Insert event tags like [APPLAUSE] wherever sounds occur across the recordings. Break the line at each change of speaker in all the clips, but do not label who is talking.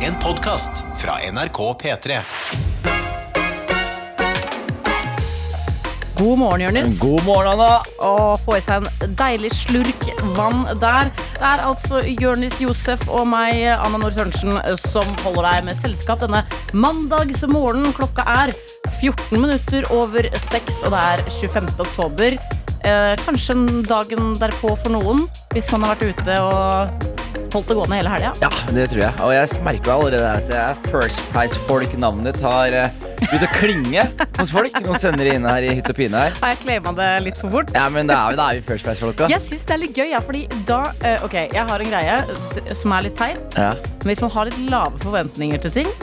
En podkast fra NRK P3.
God morgen, Jonis.
God morgen, Anna.
Og få i seg en deilig slurk vann der. Det er altså Jonis Josef og meg, Anna Nord Sørensen, som holder deg med selskap denne mandagsmorgenen. Klokka er 14 minutter over 6, og det er 25. oktober. Eh, kanskje dagen derpå for noen, hvis man har vært ute og holdt det gående hele helga.
Ja, det tror jeg. Og jeg merker jo allerede at det er First Price-folk-navnet tar eh, begynt å klinge hos folk. Noen sender det inn her i hytt og pine her.
Har jeg claima det litt for fort?
Ja, men da er vi, da er vi First Price-folka.
Jeg syns det er litt gøy, ja, fordi da eh, Ok, jeg har en greie eh, som er litt teit.
Ja.
Men hvis man har litt lave forventninger til ting,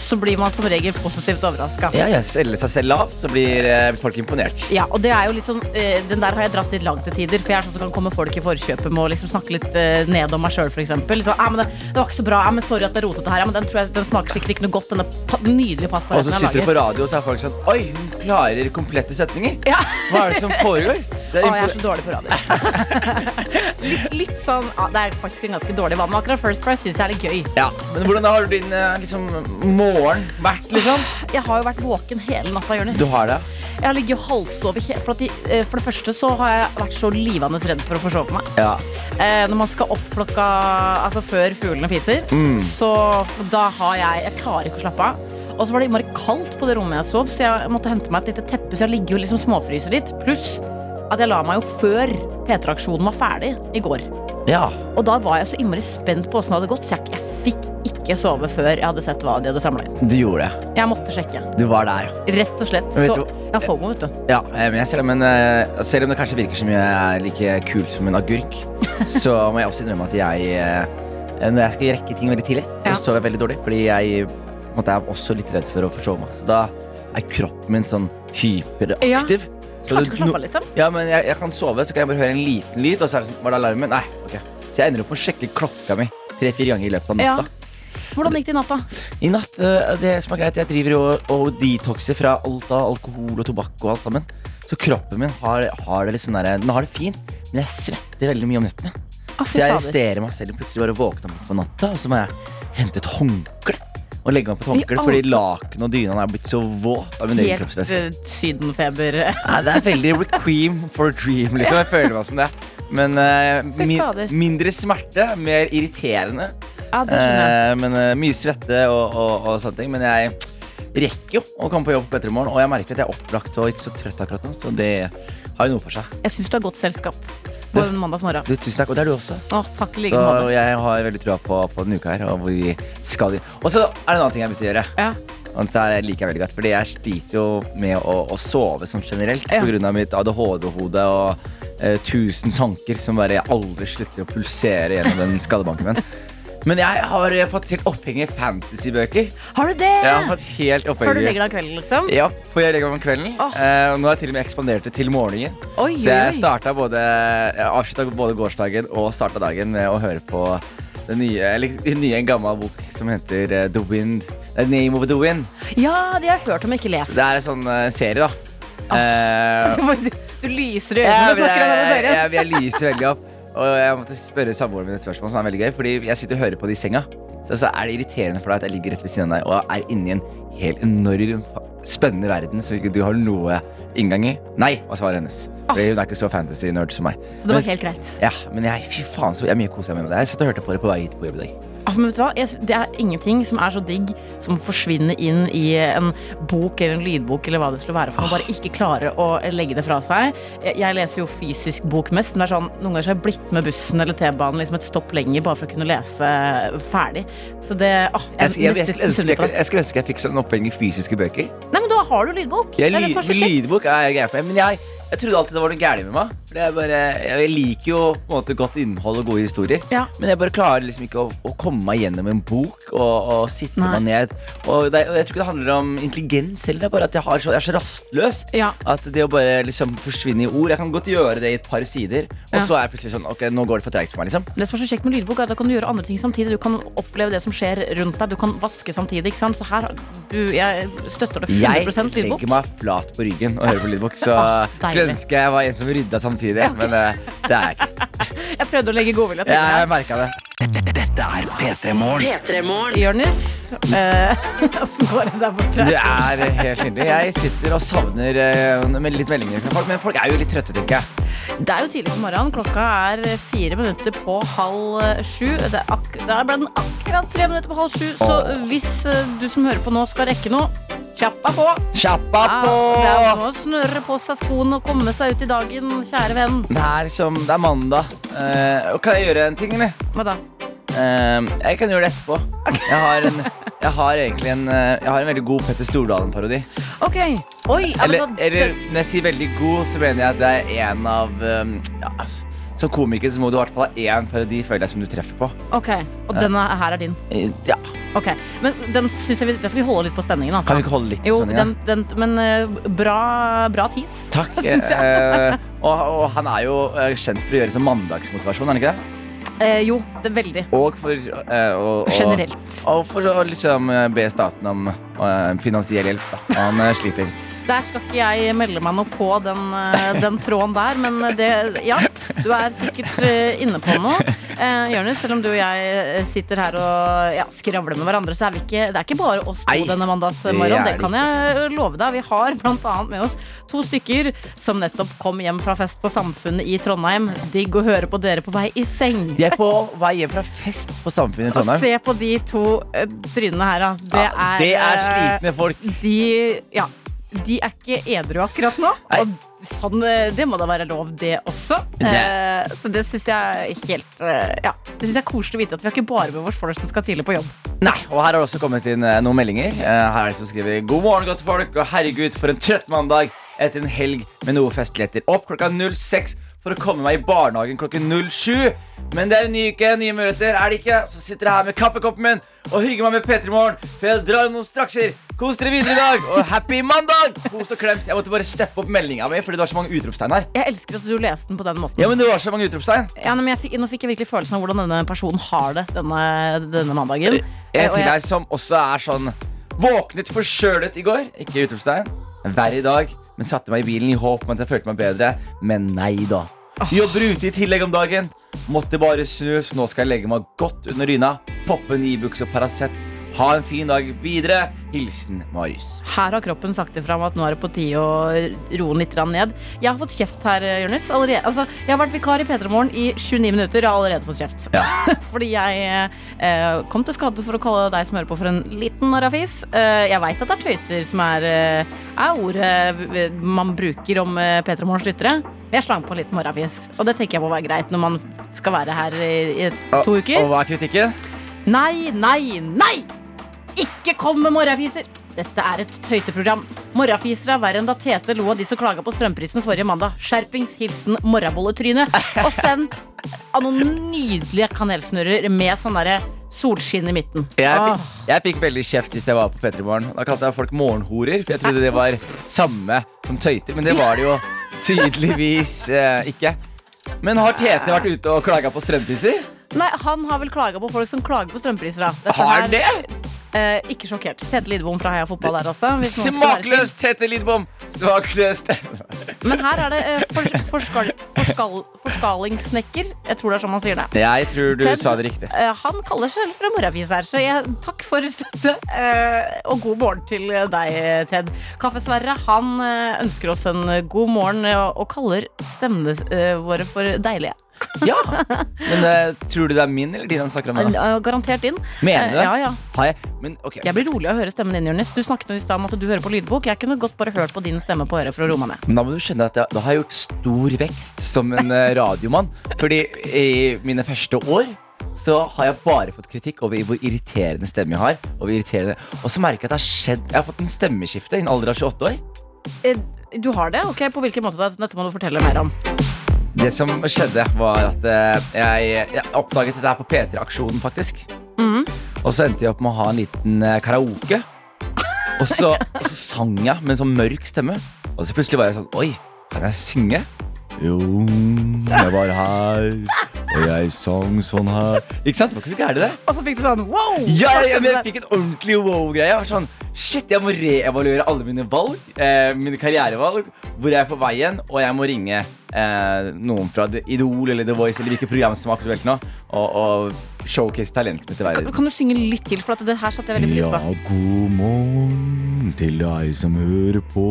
så blir man som regel positivt overraska.
ja, jeg selger seg selv av, så blir eh, folk imponert.
Ja, og det er jo litt sånn, eh, Den der har jeg dratt litt langt til tider. For jeg er sånn som kan komme folk i forkjøpet med å liksom snakke litt eh, ned om meg sjøl, f.eks. Liksom, «Æ, men det, 'Det var ikke så bra. Æ, men sorry at jeg rotet det her.' Ja, men den, tror jeg, den smaker sikkert ikke noe godt, denne pa nydelige pastaen
Og så sitter du på radio, og så er folk sånn Oi, hun klarer komplette setninger.
Ja.
Hva er det som foregår?
Å,
Det er
jeg er
impo-
så dårlig på radio. [LAUGHS] litt, litt sånn ja, Det er faktisk en ganske dårlig vann, men akkurat First Price syns jeg er litt gøy.
ja, Men hvordan har din eh, liksom, morgen vært, liksom?
Jeg har jo vært våken hele natta, Jonis.
Du har det?
Jeg har ligget og halsover he- for, at de, eh, for det første så har jeg vært så livende redd for å forsove meg.
Ja.
Eh, når man skal opp klokka Altså før fuglene fiser,
Mm.
så da har jeg Jeg klarer ikke å slappe av. Og så var det innmari kaldt på det rommet jeg sov, så jeg måtte hente meg et lite teppe. Så jeg ligger jo liksom småfryser litt. Pluss at jeg la meg jo før P3-aksjonen var ferdig i går.
ja.
Og da var jeg så innmari spent på åssen det hadde gått, så jeg, jeg fikk ikke sove før jeg hadde sett hva de hadde samla inn.
Du gjorde det.
Jeg måtte sjekke.
Du var der.
Rett og slett.
Men vet
Så
du-
jeg har fomo, vet du.
Ja, eh, men jeg, selv, om, en, eh, selv om det kanskje virker som jeg er like kul som en
[LAUGHS]
agurk, så må jeg også innrømme at jeg eh, Når jeg skal rekke ting veldig tidlig,
Ja.
så sover jeg veldig dårlig. Fordi jeg på en måte, er også litt redd for å forsove meg. Så da er kroppen min sånn
Ja.
hyperaktiv.
Klarte ikke
Så det-
å slappe
no-
av, liksom.
Ja, men jeg, jeg kan sove, så kan jeg bare høre en liten lyd, og så er det sånn Var det alarmen? Nei. ok Så jeg ender opp med å sjekke klokka mi tre-fire ganger i løpet av
Ja.
natta.
Hvordan gikk det i natta?
I natt, eh, det som er greit, jeg driver jo og- og detoxer fra alt av alkohol og tobakk og alt sammen. Så kroppen min har, har det litt sånn der, den har det fint, men jeg svetter veldig mye om nettene.
Å,
Så
fy
jeg
fader.
arresterer meg selv plutselig bare våkner om midt på natta, og så må jeg hente et håndkle. Og legge meg på et
I
håndkle fordi lakenet og dyna er blitt så våt av min egen
Helt
kroppsvæske.
eh, sydenfeber. [LAUGHS]
Nei, det er veldig requiem for a dream, liksom. Jeg føler meg som det. Men eh,
Fy
min,
fader.
mindre smerte, mer irriterende.
Ja, det skjønner jeg.
Eh, men eh, Mye svette og, og, og sånne ting. Men jeg rekker jo å komme på jobb på Petremorgen. Og jeg merker at jeg er opplagt og ikke så trøtt akkurat nå. Så det har jo noe for seg.
Jeg syns du har godt selskap på en mandagsmorgen.
Du, tusen takk. Og det er du også.
Å, takk i like
Så
måte.
jeg har veldig trua på, på denne uka her. Og hvor vi skal inn. Og så er det en annen ting jeg har begynt å gjøre.
Ja.
Og dette liker jeg veldig godt. Fordi jeg sliter jo med å, å sove sånn generelt
Ja.
pga. mitt ADHD-hode og eh, tusen tanker som bare jeg aldri slutter å pulsere gjennom den skadebanken min. Men jeg har eh, fått helt oppheng i fantasybøker.
Har du det?
Jeg har fått helt
Før du legger deg
opphengig.
om kvelden, liksom?
Ja, for jeg legger meg om kvelden.
Åh.
Eh, og nå har jeg til og med ekspandert det til morgenen.
Oi,
Så jeg
oi, oi.
startet både, jeg avslutta både gårsdagen og starta dagen med å høre på den nye, eller, den nye en gammel bok som heter eh, The Wind. The Name of the Wind.
Ja, de har jeg hørt om, ikke lest.
Det er en sånn eh, serie, da.
[LAUGHS]
Eh,
Du, du lyser i øynene når
jeg,
du snakker om
jeg,
denne
jeg,
serien.
jeg, jeg lyser veldig opp. Og jeg måtte spørre samboeren min et spørsmål som er veldig gøy. Fordi jeg sitter og hører på det i senga. Så, så er det irriterende for deg at jeg ligger rett ved siden av deg og er inni en helt enorm, spennende verden som ikke du har noe inngang i. Nei, var svaret hennes. Fordi hun er ikke så fantasy-nerd som meg.
Ah. Så det var helt greit.
Ja, men jeg, fy faen, så jeg mye koser meg med det. Jeg satt og hørte på det på vei hit på jobb i dag.
Ah, men vet du hva? Jeg, sy- det er ingenting som er så digg som å forsvinne inn i en bok eller en lydbok eller hva det skulle være for
Ah.
noe. Bare ikke klare å legge det fra seg. Jeg, jeg leser jo fysisk bok mest, men det er sånn, noen ganger så har jeg blitt med bussen eller T-banen liksom et stopp lenger bare for å kunne lese ferdig. Så det ah,
Jeg, jeg, jeg, jeg, skulle ønske
misunner
jeg,
på det.
jeg skulle ønske jeg fikk sånn oppheng i fysiske bøker.
Nei, men da har du lydbok.
Jeg,
Det er det som
ly-
er så kjekt.
lydbok er jeg greia for meg, men jeg, jeg trodde alltid det var noe gærent med meg. For jeg, bare, jeg jeg liker jo på en måte godt innhold og gode historier,
Ja.
men jeg bare klarer liksom ikke å, å komme meg gjennom en bok og, og sitte
Nei.
meg ned. Og, det, og jeg tror ikke det handler om intelligens heller, det er bare at jeg, har så, jeg er så rastløs.
Ja.
At det å bare liksom forsvinne i ord Jeg kan godt gjøre det i et par sider, og
Ja.
så er jeg plutselig sånn Ok, nå går det for treigt for meg, liksom.
Det som er så kjekt med lydbok, er at da kan du gjøre andre ting samtidig. Du kan oppleve det som skjer rundt deg. Du kan vaske samtidig. Ikke sant? Så her, du, jeg støtter det 100
Jeg
lydbok.
legger meg flat på ryggen og hører på lydbok, så
Ah,
skulle
deilig.
ønske jeg var en som rydda samtidig, men eh, det er jeg ikke.
Jeg prøvde å legge godvilje til. deg.
Jeg merka det. Dette
Dette er P3 Morgen.
Jonis, eh, [LAUGHS] åssen går det der borte?
Det er helt nydelig. Jeg sitter og savner eh, med litt meldinger fra folk, men folk er jo litt trøtte, tenker jeg.
Det er jo tidlig på morgenen. Klokka er fire minutter på halv eh, sju. Det er, ak det er ble den akkurat tre minutter på halv sju, så
Åh.
hvis eh, du som hører på nå skal rekke noe, kjapp deg på.
Kjappa
Ja,
på!
Ah, det er om å snørre på seg skoene og komme seg ut i dagen, kjære venn.
Det er som Det er mandag. Eh, og kan jeg gjøre en ting, eller?
Hva da?
Eh, jeg kan gjøre det etterpå. Jeg har, en, jeg har egentlig en, eh, jeg har en veldig god Petter Stordalen-parodi.
OK. Oi, ja, men
Eller,
da-
eller når jeg sier veldig god, så mener jeg at det er en av um, ja, altså, Som komiker så må du i hvert fall ha én parodi føler jeg, som du treffer på.
Ok, Og denne her er din.
Eh, Ja,
Ok, Men den synes jeg vi, da skal vi holde litt på stemningen. Altså.
Kan vi ikke holde litt
Jo,
sånn? ja?
den, den, men eh, bra, bra tis. [LAUGHS]
Takk. Eh, og, og han er jo eh, kjent for å gjøre som mandagsmotivasjon, er han ikke det?
Eh, jo, det er veldig.
Og for eh, å- å-
Generelt.
Og for å liksom eh, be staten om eh, finansiell hjelp, da. Og Han eh, sliter.
Der skal ikke jeg melde meg noe på den, eh, den tråden der, men det Ja, du er sikkert eh, inne på noe. Eh, Jonis, selv om du og jeg eh, sitter her og ja, skravler med hverandre, så er vi ikke, det er ikke bare oss to
Nei,
denne
det
mandagsmorgenen.
er
Det kan jeg eh, love deg. Vi har bl.a. med oss to stykker som nettopp kom hjem fra fest på Samfunnet i Trondheim. Digg å høre på dere på vei i seng.
De er på vei hjem fra fest på Samfunnet i
Og
Trondheim.
se på de to eh, trynene her, da. Det
Ja,
er,
det er
eh,
slitne folk.
de, ja, de er ikke edru akkurat nå.
Nei.
Og sånn, eh, det må da være lov, det også.
Det-
Eh, så det syns jeg er helt eh, Ja, det synes jeg er koselig å vite at vi har ikke bare med oss folk som skal tidlig på jobb.
Nei, og Her har det også kommet inn eh, noen meldinger. Eh, Her er det som skriver God morgen, godt folk, og herregud, for en trøtt mandag etter en helg med noe festligheter. Opp klokka 06 for å komme meg i barnehagen klokken 07. Men det er en ny uke, nye muligheter, er det ikke? Så sitter jeg her med kaffekoppen min og hygger meg med P3 Morgen, for jeg drar noen strakser. Kos dere videre i dag, og happy mandag! Kos og klems. Jeg måtte bare steppe opp meldinga mi, fordi det var så mange utropstegn her.
Jeg elsker at du leste den på den måten.
Ja, men det var så mange utropstegn.
Ja, nei, men jeg fikk, nå fikk jeg virkelig følelsen av hvordan denne personen har det denne, denne mandagen. Eh,
En
og
til
jeg-
her som også er sånn Våknet forkjølet i går. Ikke utropstegn. Verre i dag. Men satte meg i bilen i håp om at jeg følte meg bedre. Men nei da. Jobber ute i tillegg om dagen. Måtte bare snu, så nå skal jeg legge meg godt under dyna. Poppe en Ibux og Paracet. Ha en fin dag videre. Hilsen Marius.
Her har kroppen sagt ifra om at nå er det på tide å roe den litt grann ned. Jeg har fått kjeft her, Jonis. allerede. Altså, jeg har vært vikar i P3 Morgen i 29 minutter. Jeg har allerede fått kjeft. [LAUGHS] Fordi jeg eh, kom til skade for å kalle deg som hører på, for en liten narrafis. Eh, jeg veit at det er tøyter som er, eh, er ordet v- v- man bruker om eh, P3 Morgens lyttere. Jeg slang på en liten morrafis. Og det tenker jeg må være greit når man skal være her i, i to
Ah, Og,
uker.
og hva er kritikken?
Nei, nei, nei! Ikke kom med morrafiser! Dette er et tøyteprogram. Morrafiser er verre enn da Tete lo av de som klaga på strømprisen forrige mandag. Skjerpings hilsen morrabolletryne. Og send av noen nydelige kanelsnurrer med sånn derre solskinn i midten.
Jeg
Åh.
fikk, jeg fikk veldig kjeft sist jeg var på P3 Morgen. Da kalte jeg folk morgenhorer, for jeg trodde det var samme som tøyter. Men det var det jo tydeligvis eh, ikke. Men har Tete vært ute og klaga på strømpriser?
Nei, han har vel klaga på folk som klager på strømpriser, da. Dette
Har
her,
han det?
eh, ikke sjokkert. Tete Lidbom fra Heia Fotball der også. hvis noen skulle være i tvil.
Smakløst, Tete Lidbom! Smakløst.
Men her er det eh, fors forskal forskal forskalingssnekker. Jeg tror det er sånn man sier det.
Jeg tror du
Ted,
sa det riktig.
eh, han kaller seg selv fra Moravis her, så jeg, takk for støtte. eh, og god morgen til deg, Ted. Kaffe-Sverre han eh, ønsker oss en god morgen eh, og kaller stemmene eh, våre for deilige.
Ja. Men eh, tror du det er min eller din han snakker om?
Han
Da?
er jo Garantert din.
Mener
Eh,
du det?
Ja, ja.
Har jeg? Men ok.
Jeg blir rolig av å høre stemmen din, Jonis. Du snakket jo i stad om at du hører på lydbok. Jeg kunne godt bare hørt på din stemme på øret for å roe meg ned.
Men da må du skjønne at jeg, da har jeg gjort stor vekst som en eh, radiomann. Fordi i mine første år så har jeg bare fått kritikk over hvor irriterende stemme jeg har. Og hvor irriterende Og så merker jeg at det har skjedd Jeg har fått en stemmeskifte i en alder av 28 år.
Eh, Du har det? Ok, På hvilken måte? da? Dette må du fortelle mer om.
Det som skjedde, var at eh, jeg, jeg oppdaget dette her på P3-aksjonen, faktisk. Og så endte jeg opp med å ha en liten eh, karaoke. Og så, og så sang jeg med en sånn mørk stemme. Og så plutselig var jeg sånn Oi, kan jeg synge? Jo, jeg var her, og jeg sang sånn her. Ikke sant? Det var ikke så gærent, det.
Og så fikk du sånn wow!
Ja, ja, ja, men jeg fikk en ordentlig wow-greie. Jeg var Sånn, Shit, jeg må reevaluere alle mine valg, eh, mine karrierevalg, hvor jeg er på veien, og jeg må ringe eh, noen fra The Idol eller The Voice eller hvilke program som er aktuelt nå, og, og showcase talentene til verden.
Kan du synge litt til, for at det her satte jeg veldig pris
Ja,
på.
god morgen til deg som hører på.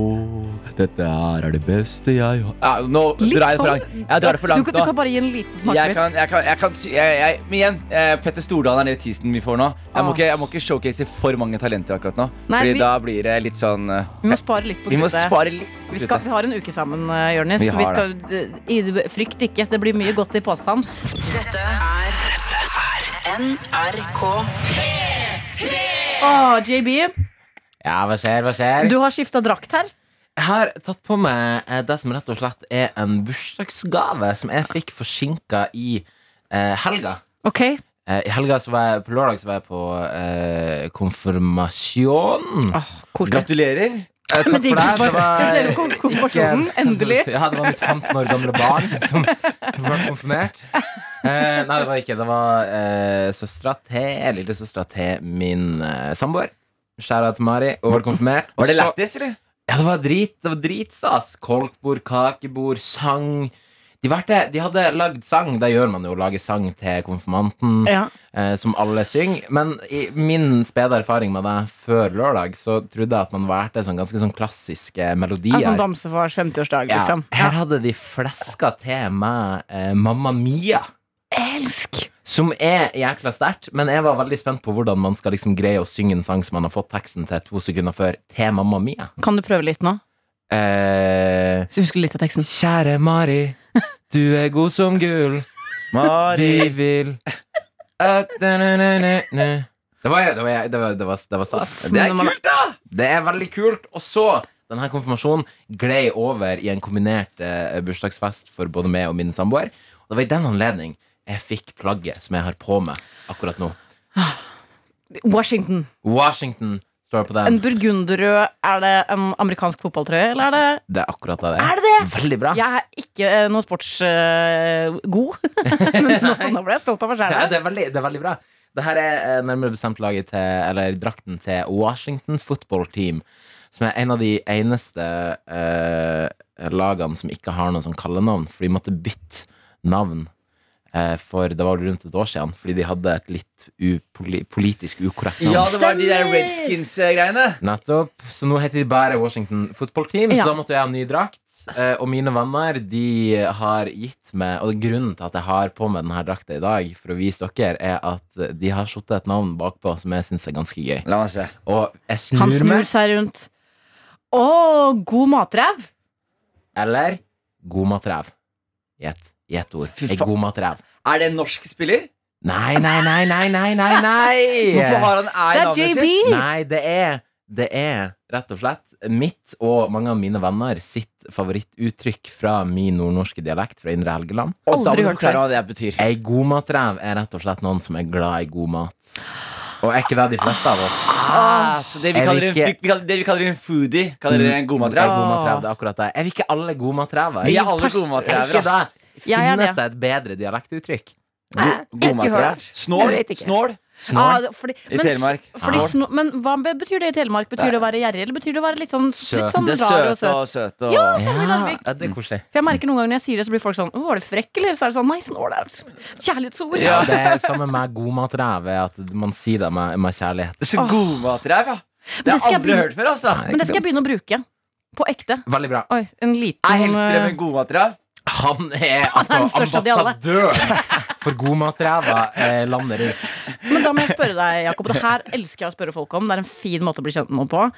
Dette her er det beste jeg har
Ja, nå drar jeg det for langt. Jeg drar det for
Du,
langt
kan- du kan
nå.
bare gi en liten
Jeg
smakebit.
kan, jeg kan, jeg kan sy- jeg, jeg, Men igjen, eh, Petter Stordalen er den teasen vi får nå. Jeg må,
Ah.
ikke, jeg må ikke showcase for mange talenter akkurat nå.
Nei,
fordi
vi-
da blir det litt sånn eh,
Vi må spare litt på
Vi må
kruttet.
spare litt. på
Vi, skal,
kruttet.
vi har en uke sammen, eh, Jørnis. Vi
Vi har
skal, i- frykt ikke, det blir mye godt i posen.
Dette er NRK.
Å, JB,
Ja, hva skjer, hva skjer?
du har skifta drakt her.
Jeg har tatt på meg eh, det som rett og slett er en bursdagsgave som jeg fikk forsinka i eh, helga.
Ok,
Eh, I helga så var jeg, På lørdag så var jeg på eh, konfirmasjon.
Åh, koselig. [LAUGHS]
Gratulerer.
Eh, takk for det. Det var
Gratulerer med konfirmasjonen.
ikke-
[LAUGHS] Endelig.
Ja, det var mitt 15 år gamle barn [LAUGHS] som var konfirmert. Eh, nei, det var ikke. Det var eh, søstera til lillesøstera til min eh, samboer. Skjæra til Mari. Hun ble konfirmert.
Var det
Og så-
lættis, eller?
Ja, det var drit, det var dritstas. Koltbord, kakebord, sang. De, verte, de hadde lagd sang. Det gjør man jo, lage sang til konfirmanten,
Ja.
eh, som alle synger. Men i min spede erfaring med det før lørdag, så trodde jeg at man valgte sånn ganske sånn klassiske melodier.
En sånn bamsefars 50-årsdag,
Ja,
liksom.
Her hadde de fleska til med eh, Mamma Mia.
Elsk!
Som er jækla sterkt, men jeg var veldig spent på hvordan man skal liksom greie å synge en sang som man har fått teksten til to sekunder før, til Mamma Mia.
Kan du prøve litt nå?
Eh,
Så husker du litt av teksten.
Kjære Mari, du er god som gull. Vi vil at- na, na, na, na, na. Det var, det var, det var, det var, det var stas.
Det er kult,
da! Det er veldig kult. Og så denne konfirmasjonen glei over i en kombinert eh, bursdagsfest for både meg og min samboer. Og det var i den anledning jeg fikk plagget som jeg har på meg akkurat nå.
Washington.
Washington står på
En
den.
burgunderrød Er det en amerikansk fotballtrøye, eller er det
Det er akkurat det.
Er det det?
Veldig bra.
Jeg er ikke eh, noe sportsgod, [LAUGHS] men nå, sånn, nå ble jeg stolt av meg
Ja,
sjæl.
det er veldig, det er veldig bra. Det her er eh, nærmere bestemt laget til, eller drakten til Washington Football Team, som er en av de eneste eh, lagene som ikke har noe sånn kallenavn, for de måtte bytte navn. eh, For det var rundt et år siden, fordi de hadde et litt upoli politisk ukorrekt navn.
Ja, det var de der Redskins-greiene.
Nettopp. Så nå heter de bare Washington Football Team,
Ja.
så da måtte jeg ha en ny drakt. Eh, og mine venner de har gitt meg Og grunnen til at jeg har på meg denne drakta i dag, for å vise dere, er at de har satt et navn bakpå som jeg syns er ganske gøy.
La meg se.
Og jeg
Han
snur
snur
meg.
seg rundt. Å, god matræv!
Eller god matræv. Gjett. Gjett ord.
Fy
Ei
faen.
god matræv.
Er det en norsk spiller?
Nei, nei, nei, nei, nei, nei,
Hvorfor
nei!
har han æ
Det
i
er
navnet
JB!
sitt?
Nei, det er Det er rett og slett mitt og mange av mine venner sitt favorittuttrykk fra min nordnorske dialekt fra Indre Helgeland.
Og
Aldri
da må du
hørt
forklare hva det betyr.
Ei godmatrev er rett og slett noen som er glad i god mat. Og er ikke det de fleste av oss?
Ah, så det vi,
Jeg
kaller en,
vil ikke-
vi kaller, det vi kaller en foodie, kaller dere en
Er
godmatrev?
godmatrev, det er akkurat det. Er vi ikke alle godmatrever?
Vi er alle
Er ikke
godmatrevere. ass.
det?
Jeg er det.
Finnes det et bedre dialektuttrykk?
God-
ikke
godmatrev.
hørt.
Snål.
Jeg vet ikke.
Snål.
Snål?
Ah, fordi,
I Telemark.
s- Fordi,
Snål.
sno- men hva be- betyr det i Telemark? Betyr det å være gjerrig, eller betyr det å være litt sånn, litt sånn
Det er
rar og
søte
søt?
og søte og
Ja, sånn i
Ja,
Larvik.
ja, det er koselig.
For jeg merker noen ganger når jeg sier det, så blir folk sånn Å, var du frekk, eller? Så er det sånn Nei, sånn, å, det er kjærlighetsord.
Ja, det er samme med godmatrev, er at man sier det med, med kjærlighet.
Så godmatrev, ja. Det
det skal jeg
har jeg aldri
begynne-
hørt før, altså.
Men det skal jeg begynne å bruke. På ekte.
Veldig bra.
Oi, en liten
Er Hellstrøm en godmatrev?
Han er altså
den første av de alle.
ambassadøren for godmatrever eh, landet rundt.
Men da må jeg spørre deg, Jakob. Det her elsker jeg å spørre folk om. Det er en fin måte å bli kjent med noen på.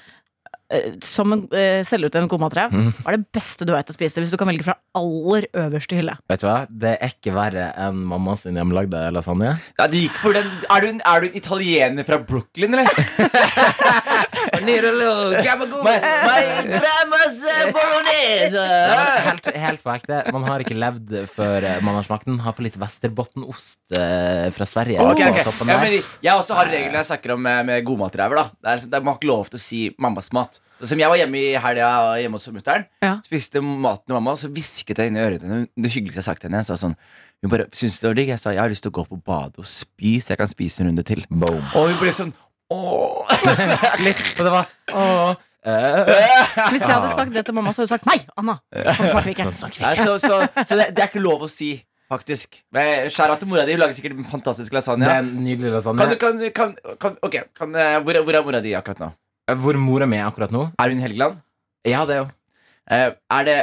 Eh, Som en eh, selger ut en komatrev. Hva er det beste du vet å spise? Hvis du kan velge fra aller øverste hylle.
Vet du hva? Det er ikke verre enn mamma sin hjemmelagde lasagne.
Ja, du gikk for den. Er, du en, er du en italiener fra
[LAUGHS]
Brooklyn, eller? My, my grandma's eh, bolognese.
Ja, men Helt, helt på ekte. Man har ikke levd før eh, man har smakt den. Har på litt Västerbottenost eh, fra Sverige.
Ok, ok.
på toppen
Ja,
der.
men jeg også har regler når jeg snakker om eh, med godmatrever. da Det er liksom, det er- Man har ikke lov til å si mammas mat. Så som jeg var hjemme i helga hjemme hos mutter'n,
Ja.
spiste maten til mamma, og så hvisket jeg inn i øret til henne. Det hyggeligste jeg har sagt til henne. Jeg sa sånn Hun bare syntes det var digg. Jeg sa jeg har lyst til å gå på badet og spy, så jeg kan spise en runde til.
Boom.
Og hun ble sånn Åh
[LAUGHS] Litt, og det var Åh, eh.
Hvis jeg hadde sagt det til mamma, så hadde hun sagt nei, Anna. Sånn snakker vi ikke.
Nei, så så, så det, det er ikke lov å si, faktisk. Men Skjær av til mora di. Hun lager sikkert en fantastisk lasagne.
Det er en nydelig lasagne.
Kan du, kan, du- kan, kan, ok, kan, eh, hvor, hvor er mora di akkurat nå?
Eh, Hvor mora mi er akkurat nå?
Er hun i Helgeland?
Ja, det er jo.
Eh, er det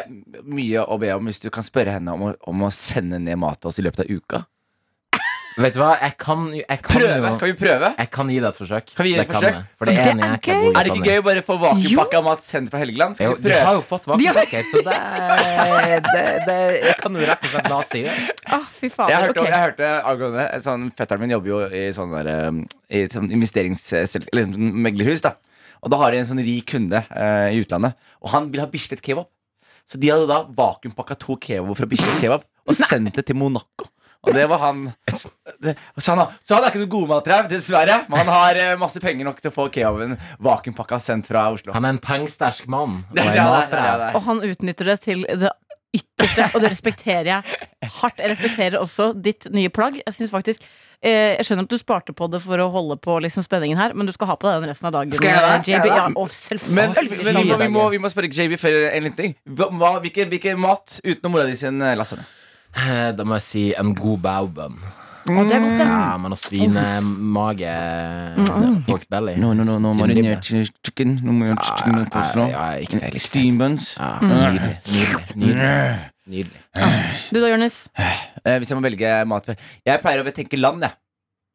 mye å be om hvis du kan spørre henne om å, om å sende ned mat til oss i løpet av uka?
Vet du hva, jeg kan jo jeg kan,
Prøve!
Jo,
Kan vi prøve?
jeg kan gi deg et forsøk.
Kan vi gi det et forsøk?
jeg, for det
Så
er,
det
en
er
jækla
gøy.
Er
god
det ikke
lasagne.
gøy å bare få vakuumpakka mat sendt fra Helgeland?
Jo,
Skal vi
de har
prøve?
jo fått vakuumpakker, så det, er- det, det jeg kan jo rett og slett la oss si det.
Å, fy
Jeg
fader.
hørte,
Ok.
jeg hørte angående en sånn, Fetteren min jobber jo i sånn der, um, I sånn investerings... Eller sånn meglerhus, da. Og da har de en sånn rik kunde eh, i utlandet, og han vil ha Bislett kebab. Så de hadde da vakuumpakka to kebab fra Bislett kebab og sendt det til Monaco. Og det var han det, så, han har, så han har ikke noe godmatrev, dessverre. Men han har eh, masse penger nok til å få kebaben vakuumpakka sendt fra Oslo.
Han er en pengsterk mann. Og
Det er
en
det han er, det er det
matrev.
han er.
Og han utnytter det til det ytterste, og det respekterer jeg hardt. Jeg respekterer også ditt nye plagg. Jeg synes faktisk eh, Jeg skjønner at du sparte på det for å holde på liksom, spenningen her, men du skal ha på deg den resten av dagen.
Skal jeg det?
eh,
Skal jeg
JB.
det?
Ja, og
Men,
selvfølgelig.
men vi, må, vi, må, vi må spørre JB før en liten ting. Hva, hva- hvilken, hvilken mat utenom mora di sin eh, lasagne?
Eh, Da må jeg si en god baubønn.
Å, det er godt, det.
Ja, men å svine mage Pork belly.
No, no, no, no
Tynn
marinert
ribbe.
chi- chicken. No marinert chicken no coleslaw.
Ah, Ja, ja, ja, ikke feil.
Steam buns. Mm.
Ja, nydelig, nydelig, nydelig, nydelig.
Ah. Du da, Jonis?
Eh, hvis jeg må velge mat for- Jeg pleier å tenke land, jeg.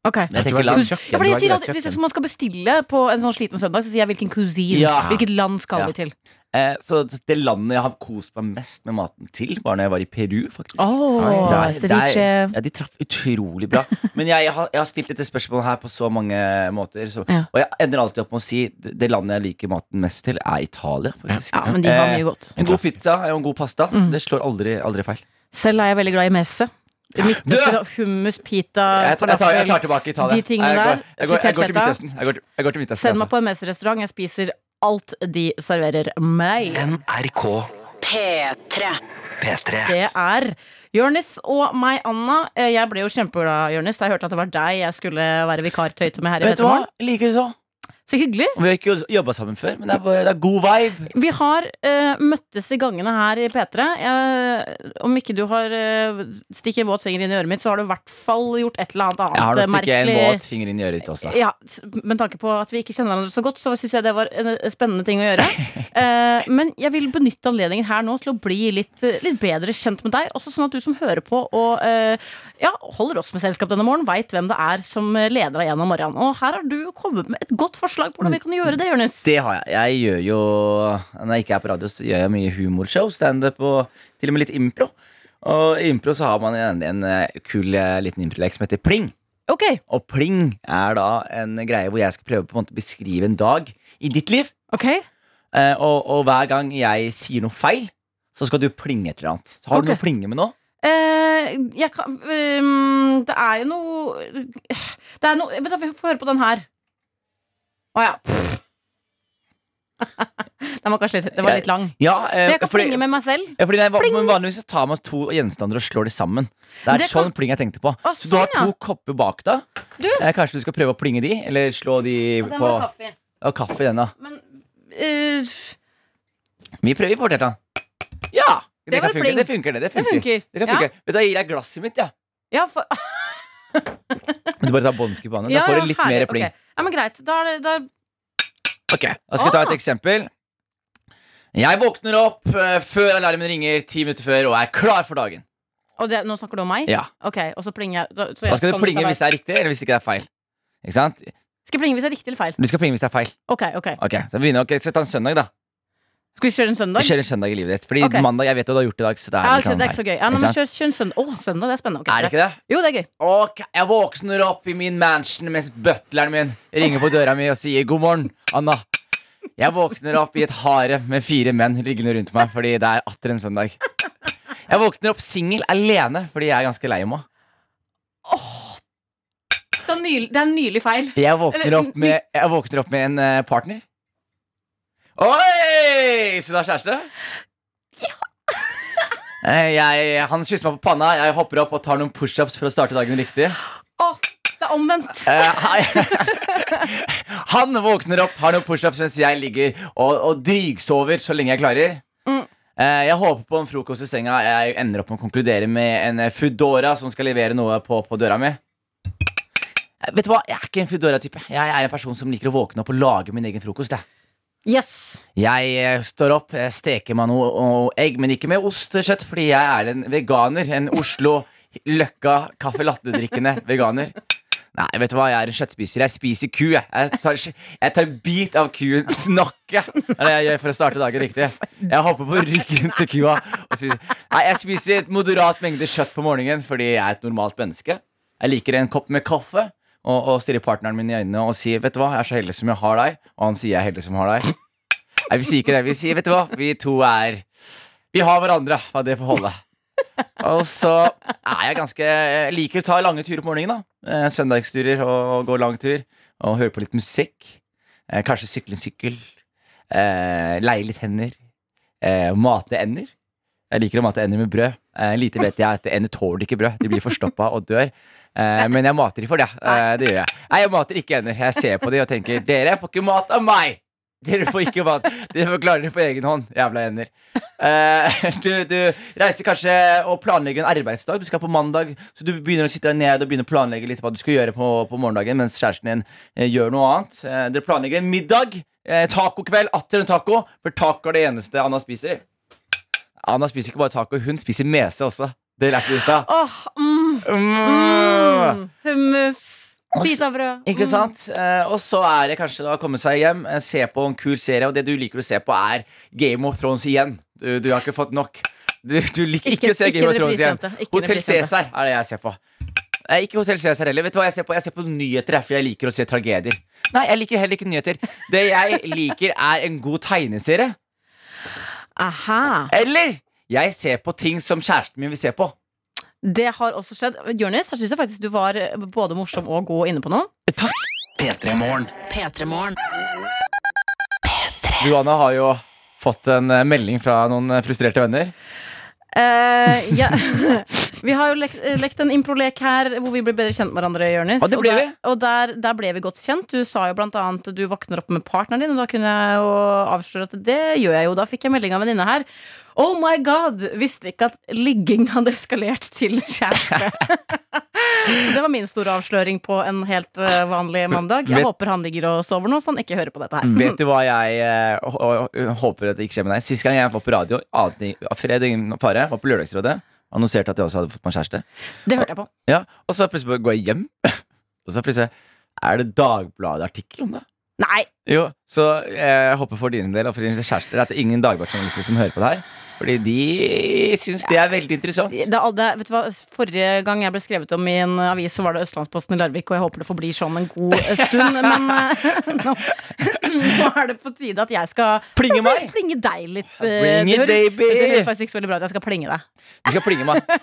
Ok.
Jeg tenker
tror
land.
det
Kus-
kjøkken,
Ja, fordi
du
jeg
har
sier
greit
alltid, hvis
kjøkken.
man skal bestille på en sånn sliten søndag, så sier jeg hvilken kusin.
Ja.
Hvilket land skal
Ja.
vi til?
Eh, så det landet jeg har kost meg mest med maten til, var når jeg var i Peru, faktisk.
Oh,
Der- der-
ceviche.
ja, de traff
[LAUGHS]
utrolig bra. Men jeg, har, jeg har stilt dette spørsmålet her på så mange måter. Så,
Ja.
Og jeg ender alltid opp med å si det det landet jeg liker maten mest til, er Italia. faktisk
Ja, men de har
Eh,
mye godt. Mm.
En god pizza og en god pasta. Det slår aldri, aldri feil.
Selv er jeg veldig glad i messe. Midt
Du!
oppi da, Hummus, pita,
Jeg, tar- jeg, tar, jeg tar
falafel.
tilbake Italia.
De tingene
jeg,
der,
går, jeg, går, jeg går til
fritert feta.
Midtøsten. Jeg går, til- jeg går til Midtøsten
Send meg
altså.
på en mesterrestaurant. Jeg spiser alt de serverer meg.
NRK P3.
Det er Jørnis og meg, Anna. Eh, Jeg ble jo kjempeglad, Jørnis, da jeg hørte at det var deg jeg skulle være vikartøyte med her i
Vet du hva?
Petermorgen.
Likeså.
Så hyggelig.
Vi har ikke jobba sammen før, men det er, bare, det er god vibe.
Vi har eh, møttes i gangene her i P3. Jeg, om ikke du har uh, stikket en våt finger inn i øret mitt, så har du i hvert fall gjort et eller annet annet
Jeg har nok
eh,
ikke en
merkelig-
våt altså. finger inn i øret ditt også.
Ja, s- Med tanke på at vi ikke kjenner hverandre så godt, så syns jeg det var en eh, spennende ting å gjøre.
[LAUGHS]
Eh, men jeg vil benytte anledningen her nå til å bli litt, eh, litt bedre kjent med deg. Også sånn at du som hører på og eh, ja, holder oss med selskap denne morgenen, veit hvem det er som eh, leder deg gjennom morgenen. Og her har du kommet med et godt forslag på hvordan vi kan gjøre det, Jonis.
Mm. Det har jeg. Jeg gjør jo Når jeg ikke er på radio, så gjør jeg mye humorshow, standup og til og med litt impro. Og i impro så har man gjerne en eh, kul eh, liten improlek som heter pling.
Ok,
Og pling er da en greie hvor jeg skal prøve på en måte å beskrive en dag i ditt liv.
ok
Eh, og, og hver gang jeg sier noe feil, så skal du plinge et eller annet. Så har
Ok.
du noe å plinge med nå?
Eh, jeg kan, ehm, det er jo noe Det er noe Vet du, hva, Få høre på den her. Å ja. [LAUGHS] den var kanskje litt, den var litt lang.
Ja, eh,
Men jeg kan
fordi-
plinge med meg selv.
ja, fordi når jeg, var- men Vanligvis så tar man to gjenstander og slår de sammen. Det er
Det kan-
sånn pling jeg tenkte på.
Å,
så du har
sånn, ja.
to kopper bak deg.
Du!
Eh, kanskje du skal prøve å plinge de, eller slå de
Den
på
var kaffe.
Ja, kaffe i den, da.
Men eh,
Vi prøver fort, da. Ja! Det,
Det var
kan funke,
pling.
det funker, det. Det
det
funker.
funker.
Det kan
ja.
funke. Vet du, Jeg gir deg glasset mitt, jeg.
Ja, for,
Ja. Du bare tar bånski på hånda. Da
ja, ja,
får du litt
herlig.
mer pling.
Ok. Ja, men greit. Da er det da,
Ok, Da skal jeg ta
Ah.
et eksempel. Jeg våkner opp eh, før alarmen ringer ti minutter før og er klar for dagen.
og det, Nå snakker du om meg?
Ja,
Ok, og så plinger jeg. Da, så
Da
jeg
skal
sånn
du plinge hvis
er
det er riktig, eller hvis det ikke er feil. Ikke sant?
Skal jeg plinge hvis det er riktig eller feil?
Du skal plinge hvis det er feil.
Ok, ok
Ok, så vi begynner ok, Skal vi ta en søndag, da?
Skal vi kjøre en søndag?
Vi kjører en søndag i livet ditt. Fordi
Ok.
mandag jeg vet hva du har gjort i dag. Så det er,
ja,
litt
ok,
sånn
det er ikke så
her.
gøy. Ja, nei,
Ikke
men
sant?
kjør, kjør en søndag. Å, søndag, det er spennende. Ok,
er det ikke det?
Jo, det er gøy.
Ok, Jeg våkner opp i min mansion mens butleren min ringer på døra mi og sier god morgen, Anna. Jeg våkner opp i et hare med fire menn liggende rundt meg fordi det er atter en søndag. Jeg våkner opp singel alene fordi jeg er ganske lei meg.
Det er, nyl, det er nylig feil.
Jeg våkner opp med, jeg våkner opp med en eh, partner. Oi! Så du har kjæreste? Eh, Jeg, han kysser meg på panna, jeg hopper opp og tar noen pushups for å starte dagen riktig.
Å, det er omvendt.
Eh, hei. [LAUGHS] Han våkner opp, tar noen pushups mens jeg ligger og, og drygsover så lenge jeg klarer. Eh, Jeg håper på en frokost i senga. Jeg ender opp med å konkludere med en eh, Foodora som skal levere noe på, på døra mi. Eh, Vet du hva, Jeg er ikke en Foodora-type. Jeg er en person som liker å våkne opp og lage min egen frokost. Jeg,
Yes.
jeg eh, står opp, jeg steker meg noe og egg, men ikke med ost og kjøtt, fordi jeg er en veganer. En Oslo Løkka caffè latte-drikkende veganer. Nei, vet du hva, jeg er en kjøttspiser. Jeg spiser ku. Jeg, jeg, tar, jeg tar en bit av kuens nakke. Det er det jeg gjør for å starte dagen riktig. Jeg hopper på ryggen til kua og spiser. Nei, jeg spiser et moderat mengde kjøtt på morgenen fordi jeg er et normalt menneske. Jeg liker en kopp med kaffe og, og stirrer partneren min i øynene og sier 'Vet du hva, jeg er så heldig som jeg har deg', og han sier 'Jeg er heldig som har deg'. Nei, vi sier ikke det. Vi sier 'Vet du hva, vi to er Vi har hverandre', hva det får holde. Og så er jeg ganske Jeg liker å ta lange turer på morgenen. da Eh, Søndagsturer og gå lang tur. Og høre på litt musikk. Eh, Kanskje sykle en sykkel. Eh, Leie litt hender. Eh, Mate ender. Jeg liker å mate ender med brød. Eh, Lite vet jeg at ender tåler ikke brød. De blir forstoppa og dør. Eh, Men jeg mater de for det. Eh, Det gjør jeg. Nei, jeg mater ikke ender. Jeg ser på de og tenker Dere får ikke mat av meg! Dere får ikke mat. Dere får klare det på egen hånd, jævla ender. Eh, du, du reiser kanskje og planlegger en arbeidsdag. Du skal på mandag, så du begynner å sitte deg ned og begynner å planlegge litt hva du skal gjøre på, på morgendagen mens kjæresten din eh, gjør noe annet. Eh, dere planlegger en middag. Eh, tacokveld. Atter en taco. For taco er det eneste Anna spiser. Anna spiser ikke bare taco, hun spiser mese også. Det lærte vi i stad.
Åh, mm,
Mm.
mm, hummus.
Og s-
Bit av brød. Mm.
Ikke sant? Eh, og så er det kanskje da å komme seg hjem, eh, se på en kul serie, og det du liker å se på, er Game of Thrones igjen. Du, du har ikke fått nok. Du, du liker
Ikke-
ikke, å se
ikke
Game of
en
Thrones igjen.
reprisjente. Ikke en
Hotell
reprisjente.
Cæsar er det jeg ser på. Eh, ikke Hotell Cæsar heller. Vet du hva jeg ser på? Jeg ser på nyheter, jeg, for jeg liker å se tragedier. Nei, jeg liker heller ikke nyheter. Det jeg liker, er en god tegneserie.
Mm. Aha.
Eller jeg ser på ting som kjæresten min vil se på.
Det har også skjedd. Jonis, her syns jeg faktisk du var eh, både morsom og god inne på noe.
Du, Anna, har jo fått en eh, melding fra noen eh, frustrerte venner.
Eh, ja. [LAUGHS] Vi har jo lekt, eh, lekt en improlek her hvor vi ble bedre kjent med hverandre. Jørnes.
Og det ble
der, og der, der ble vi godt kjent. Du sa jo blant annet at du våkner opp med partneren din, og da kunne jeg jo avsløre at det gjør jeg jo. Da fikk jeg melding av en venninne her. Oh my god! Visste ikke at ligging hadde eskalert til kjæreste. [LAUGHS] Så det var min store avsløring på en helt eh, vanlig mandag. Jeg
Vet-
håper han ligger og sover nå, så han ikke hører på dette her.
Vet du hva jeg eh, hå- hå- håper at det ikke skjer med deg? Sist gang jeg var på radio, ante jeg- av fred og ingen fare, var på Lørdagsrådet. Annonserte at jeg også hadde fått meg kjæreste.
Det hørte jeg på.
Ja, Og så plutselig bare går jeg hjem, [LAUGHS] og så plutselig er det Dagbladet-artikkel om det.
Nei!
Jo, Så jeg håper for din del og for din kjæreste at det er ingen dagbladjournalister som hører på det her. Fordi de syns det er veldig interessant.
Det, er all- det, er- vet du hva, Forrige gang jeg ble skrevet om i en avis, så var det Østlandsposten i Larvik, og jeg håper det forblir sånn en god eh, stund.
[LAUGHS]
Men eh, [LAUGHS] nå, nå er det på tide at jeg skal
Plinge meg!
plinge deg litt. eh,
Bring
det
it,
høres-
baby!
Det høres faktisk ikke så veldig bra ut. Jeg skal plinge deg.
Du skal plinge meg.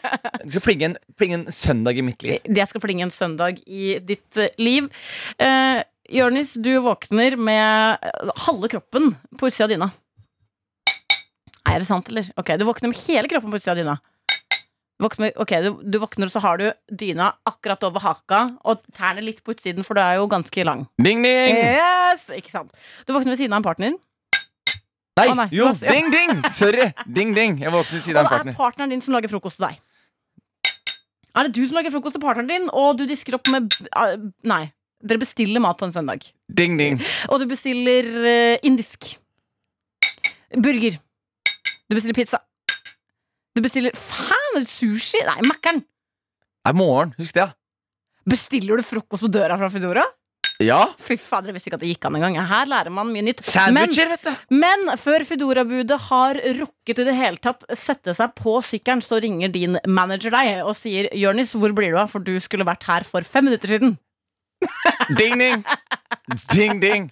Du skal plinge en, plinge en søndag i mitt liv.
Det [LAUGHS] jeg skal plinge en søndag i ditt eh, liv. Eh, Jørnis, du våkner med eh, halve kroppen på utsida av dyna. Nei, Er det sant, eller? Ok, Du våkner med hele kroppen på utsida av dyna. Våkner, ok, du, du våkner, og så har du dyna akkurat over haka og tærne litt på utsiden, for du er jo ganske lang.
Ding,
Eh,
ding!
Yes, ikke sant Du våkner ved siden av en partner.
Nei,
Å, nei,
jo,
nå- ja.
ding, ding! Sorry. Ding, ding. Jeg våknet ved
Og
siden av en
det
partner.
er partneren din som lager frokost til deg. Er det du som lager frokost til partneren din, og du disker opp med eh, Nei. Dere bestiller mat på en søndag.
Ding, ding.
Og du bestiller eh, indisk. Burger. Du bestiller pizza. Du bestiller Faen, sushi! Nei, Mækkern!
Det er morgen, husk det.
Bestiller du frokost på døra fra Foodora?
Ja.
Fy fader, jeg visste ikke at det gikk an engang. Her lærer man mye nytt. Men,
Sandwicher, vet du.
men før Foodora-budet har rukket i det hele tatt sette seg på sykkelen, så ringer din manager deg og sier 'Jonis, hvor blir du av?' For du skulle vært her for fem minutter siden.
Ding, ding. Ding, ding.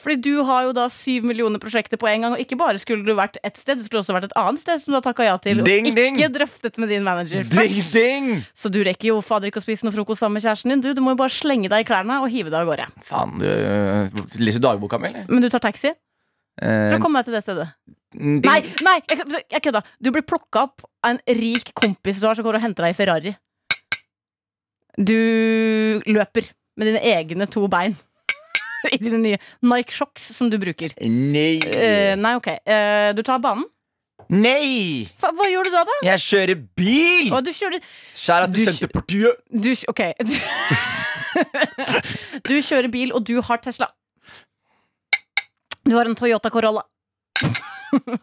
Fordi du har jo da syv millioner prosjekter på en gang, og ikke bare skulle du vært et sted, du skulle også vært et annet sted som du har takka ja til,
Ding,
og
ding.
ikke drøftet med din manager.
Ding, ding.
Så du rekker jo fader ikke å spise noe frokost sammen med kjæresten din, du. Du må jo bare slenge deg i klærne og hive deg av gårde.
Faen, du øh, leser du dagboka mi, eller?
Men du tar taxi for
Eh,
å komme deg til det stedet.
ding.
Nei, nei, jeg, jeg kødda. Du blir plukka opp av en rik kompis du har som går og henter deg i Ferrari. Du løper med dine egne to bein. [LAUGHS] i dine nye Nike Shocks som du bruker?
Nei.
Eh, nei, ok. Eh, du tar banen.
Nei!
Fa, hva gjør du da, da?
Jeg kjører bil!
Å, du kjører
Skjær at
Du
du sendte partiet!
du, kj- Ok. [LAUGHS] Du, du kjører bil, og du har Tesla. Du har en Toyota Corolla. [LAUGHS] Nei, jeg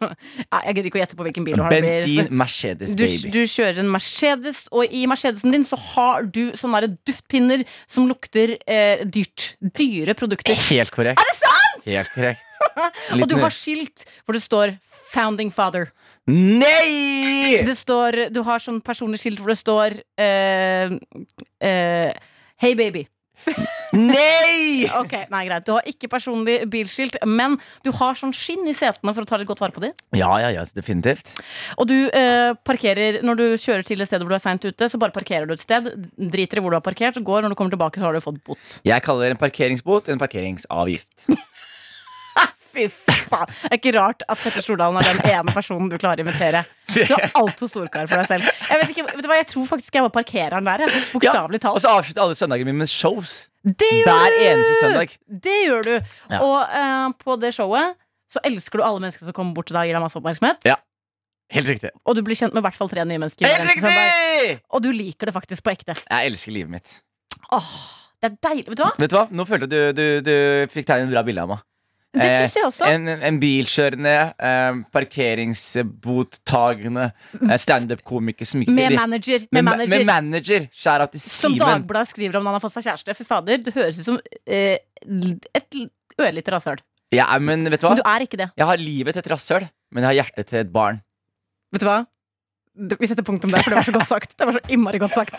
gidder ikke å gjette på hvilken bil du har. Det blir-
Bensin, Mercedes,
du,
baby.
du kjører en Mercedes, og i Mercedesen din så har du sånne der duftpinner som lukter eh, dyrt. Dyre produkter.
Helt korrekt. Er det sant?! Helt korrekt.
[LAUGHS] Og du
Liten-
har skilt hvor det står 'Founding Father'.
Nei!
Det står, du har sånn personlig skilt hvor det står eh, eh, 'Hey, baby'.
Nei!
Ok, nei greit Du har ikke personlig bilskilt, men du har sånn skinn i setene for å ta litt godt vare på dem.
Ja, ja, ja, definitivt.
Og du eh, parkerer når du kjører til et sted hvor du er seint ute, så bare parkerer du et sted. Driter i hvor du har parkert, går. Når du kommer tilbake, så har du fått bot.
Jeg kaller en parkeringsbot en
[LAUGHS]
parkeringsavgift. Ah,
Fy faen. Det er ikke rart at Petter Stordalen er den ene personen du klarer å invitere. Du er altfor storkar for deg selv. Jeg vet ikke, vet du hva, jeg tror faktisk jeg var parkereren der. jeg. Bokstavelig
Ja, Og
talt.
så avslutter alle søndagene mine med shows.
Det
Hver
gjør du!
eneste søndag.
Det gjør du.
Ja.
Og eh, på det showet så elsker du alle mennesker som kommer bort til deg og gir deg masse oppmerksomhet.
Ja. Helt riktig.
Og du blir kjent med i hvert fall tre nye mennesker. hver
Helt
eneste søndag.
riktig!
Og du liker det faktisk på ekte.
Jeg elsker livet mitt.
Åh, det er deilig. Vet du hva?
Vet du hva? Nå følte jeg at du, du, du fikk tegnet en bra bilde av meg.
Det
Eh,
syns jeg også.
En, en bilkjørende, eh, parkeringsbottagende eh, standup-komiker som ikke
Med manager. Med
Med, ma-
manager.
med manager. Skjær av til
Som
Simen.
Dagbladet skriver om når han har fått seg kjæreste. Fy fader, det høres ut som eh, l- et l- ørlite rasshøl.
Ja, men vet du hva?
Men du er ikke det.
Jeg har livet til et rasshøl, men jeg har hjertet til et barn.
Vet du hva? Det- Vi setter punktum der, for det var så godt sagt. Det var så innmari godt [LAUGHS] sagt.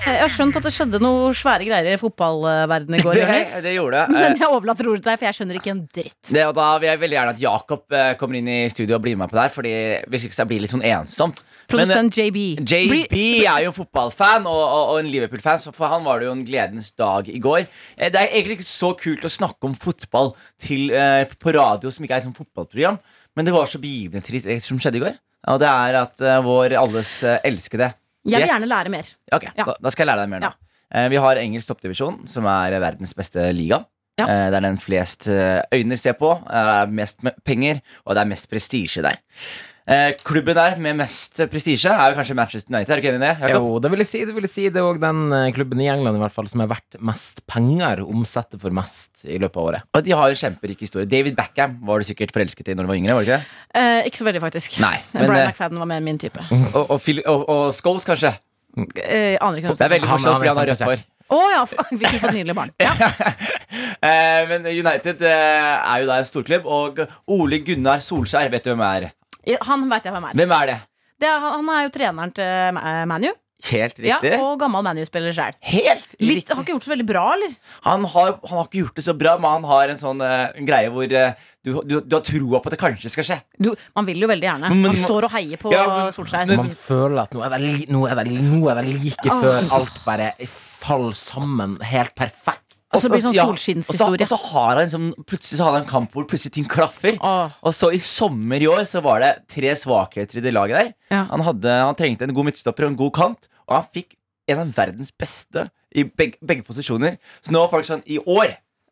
Eh, Jeg har skjønt at det skjedde noe svære greier i fotballverdenen i [LAUGHS] går.
Det,
Jonas.
det gjorde jeg. Eh,
Men jeg overlater ordet til deg, for jeg skjønner ikke en dritt.
Det, og da vil jeg veldig gjerne at Jakob eh, kommer inn i studio og blir med på det her. Fordi Hvis ikke så blir det litt sånn ensomt. Men, eh,
Produsent JB.
JB
Blir-
er jo fotballfan og, og, og en Liverpool-fan, så for han var det jo en gledens dag i går. Eh, Det er egentlig ikke så kult å snakke om fotball til, eh, på radio som ikke er et sånt fotballprogram, men det var så begivenhetsrikt eh, som skjedde i går. Og det er at eh, vår alles eh, elskede
Jeg vil
Jet-
gjerne lære mer.
ja, Ok,
Ja.
Da, da skal jeg lære deg mer nå.
Ja.
Eh, Vi har engelsk toppdivisjon, som er verdens beste liga.
Ja.
Eh, Det er den flest eh, øyne ser på, eh, mest me- penger, og det er mest prestisje der. Eh, Klubben der med mest prestisje er jo kanskje Manchester United. Er du ikke enig i det? Jakob?
Jo, det vil jeg si. Det vil jeg si Det er òg den eh, klubben i England i hvert fall som er verdt mest penger, omsetter for mest i løpet av året.
Og de har jo kjemperik historie. David Backham var du sikkert forelsket i når du var yngre. var du ikke det?
[LAUGHS]
Eh, ikke så veldig, faktisk. [LAUGHS]
Nei, men,
Brian
eh,
McFadden var mer min type.
Og, og, Phil, og, og Scholes, kanskje.
Eh, aner ikke hvem
Det
som
er veldig
Han-
morsomt
han er
fordi han har rødt
kjempekjekk.
hår.
Å ja, faen, vi kunne fått nydelige
[LAUGHS]
barn.
Eh, Men United eh, er jo da en storklubb, og Ole Gunnar Solskjær, vet du hvem er?
Ja, Han veit jeg hvem er.
Hvem er det?
Det er. Han han er jo treneren til eh, ManU.
Helt
Ja,
riktig.
og gammel ManU-spiller sjøl.
Helt riktig.
Har ikke gjort så veldig bra, eller?
Han har, han har ikke gjort det så bra, men han har en sånn eh, en greie hvor eh, du, du, du har troa på at det kanskje skal skje.
Du, man vil jo veldig gjerne.
Men-
Man står og heier på
Ja, men-
Solskjær.
Man føler at nå er det, li, nå er det, li- nå er det like før alt bare faller sammen helt perfekt.
Og så blir det sånn
Altså, ja,
solskinnshistorie.
Og så, og så har han liksom, plutselig så hadde han en kamp hvor plutselig ting klaffer.
Åh.
Og så i sommer i år så var det tre svakheter i det laget der.
Ja.
Han, hadde, han trengte en god midtstopper og en god kant, og han fikk en av verdens beste i begge, begge posisjoner. Så nå er folk sånn I år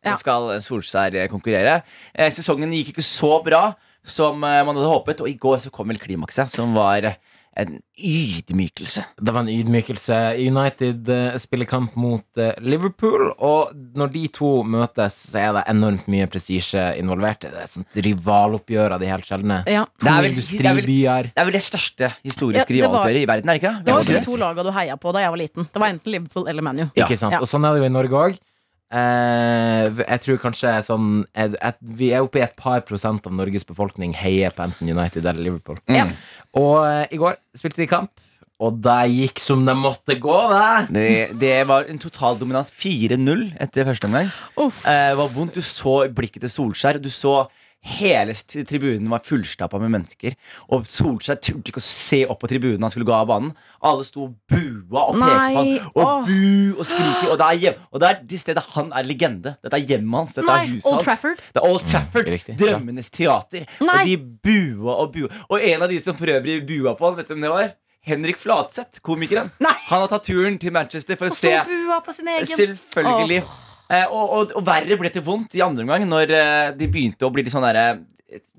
Ja.
så skal Solskjær eh, konkurrere. Eh, sesongen gikk ikke så bra som eh, man hadde håpet, og i går så kom vel klimakset, som var eh, en ydmykelse.
Det var en ydmykelse. United eh, spiller kamp mot eh, Liverpool, og når de to møtes, så er det enormt mye prestisje involvert. Det er et sånt rivaloppgjør av de helt sjeldne.
Ja.
Det
To
er vel- Eh, det er vel-
industribyer.
Det er vel det største historiske
Ja, det var-
rivaloppgjøret i verden, er det ikke det?
Det var
Vil
de
jeg si
to laga du heia på da jeg var liten. Det var enten Liverpool eller ManU.
Ja.
Ikke sant?
Ja.
Og sånn er det jo i Norge òg. Eh, jeg tror kanskje sånn eh, at Vi er oppe i et par prosent av Norges befolkning heier på enten United eller Liverpool.
Mm.
Ja.
Og eh, i går spilte de kamp, og det gikk som det måtte gå, det.
Det, det var en total dominans. 4-0 etter første omgang.
Uff.
Eh, det var vondt. Du så blikket til Solskjær. Du så hele st- tribunen var fullstappa med mennesker. Og Solskjær turte ikke å se opp på tribunen han skulle gå av banen. Alle sto og bua og pekte
Nei,
på han og
åh.
bu og skriker. Og det er, hjem, og det er det stedet han er legende. Dette er hjemmet hans. Dette
Nei,
er huset
Old
hans.
Trafford.
Det er Old Trafford.
riktig.
Drømmenes teater.
Nei.
Og de bua og bua. Og en av de som for øvrig bua på han, vet du hvem det var? Henrik Flatseth, komikeren.
Nei.
Han har tatt turen til Manchester for å se.
Så bua på sin egen
Selvfølgelig. Eh, og, og, og verre ble det vondt i andre omgang, når eh, de begynte å bli litt sånn derre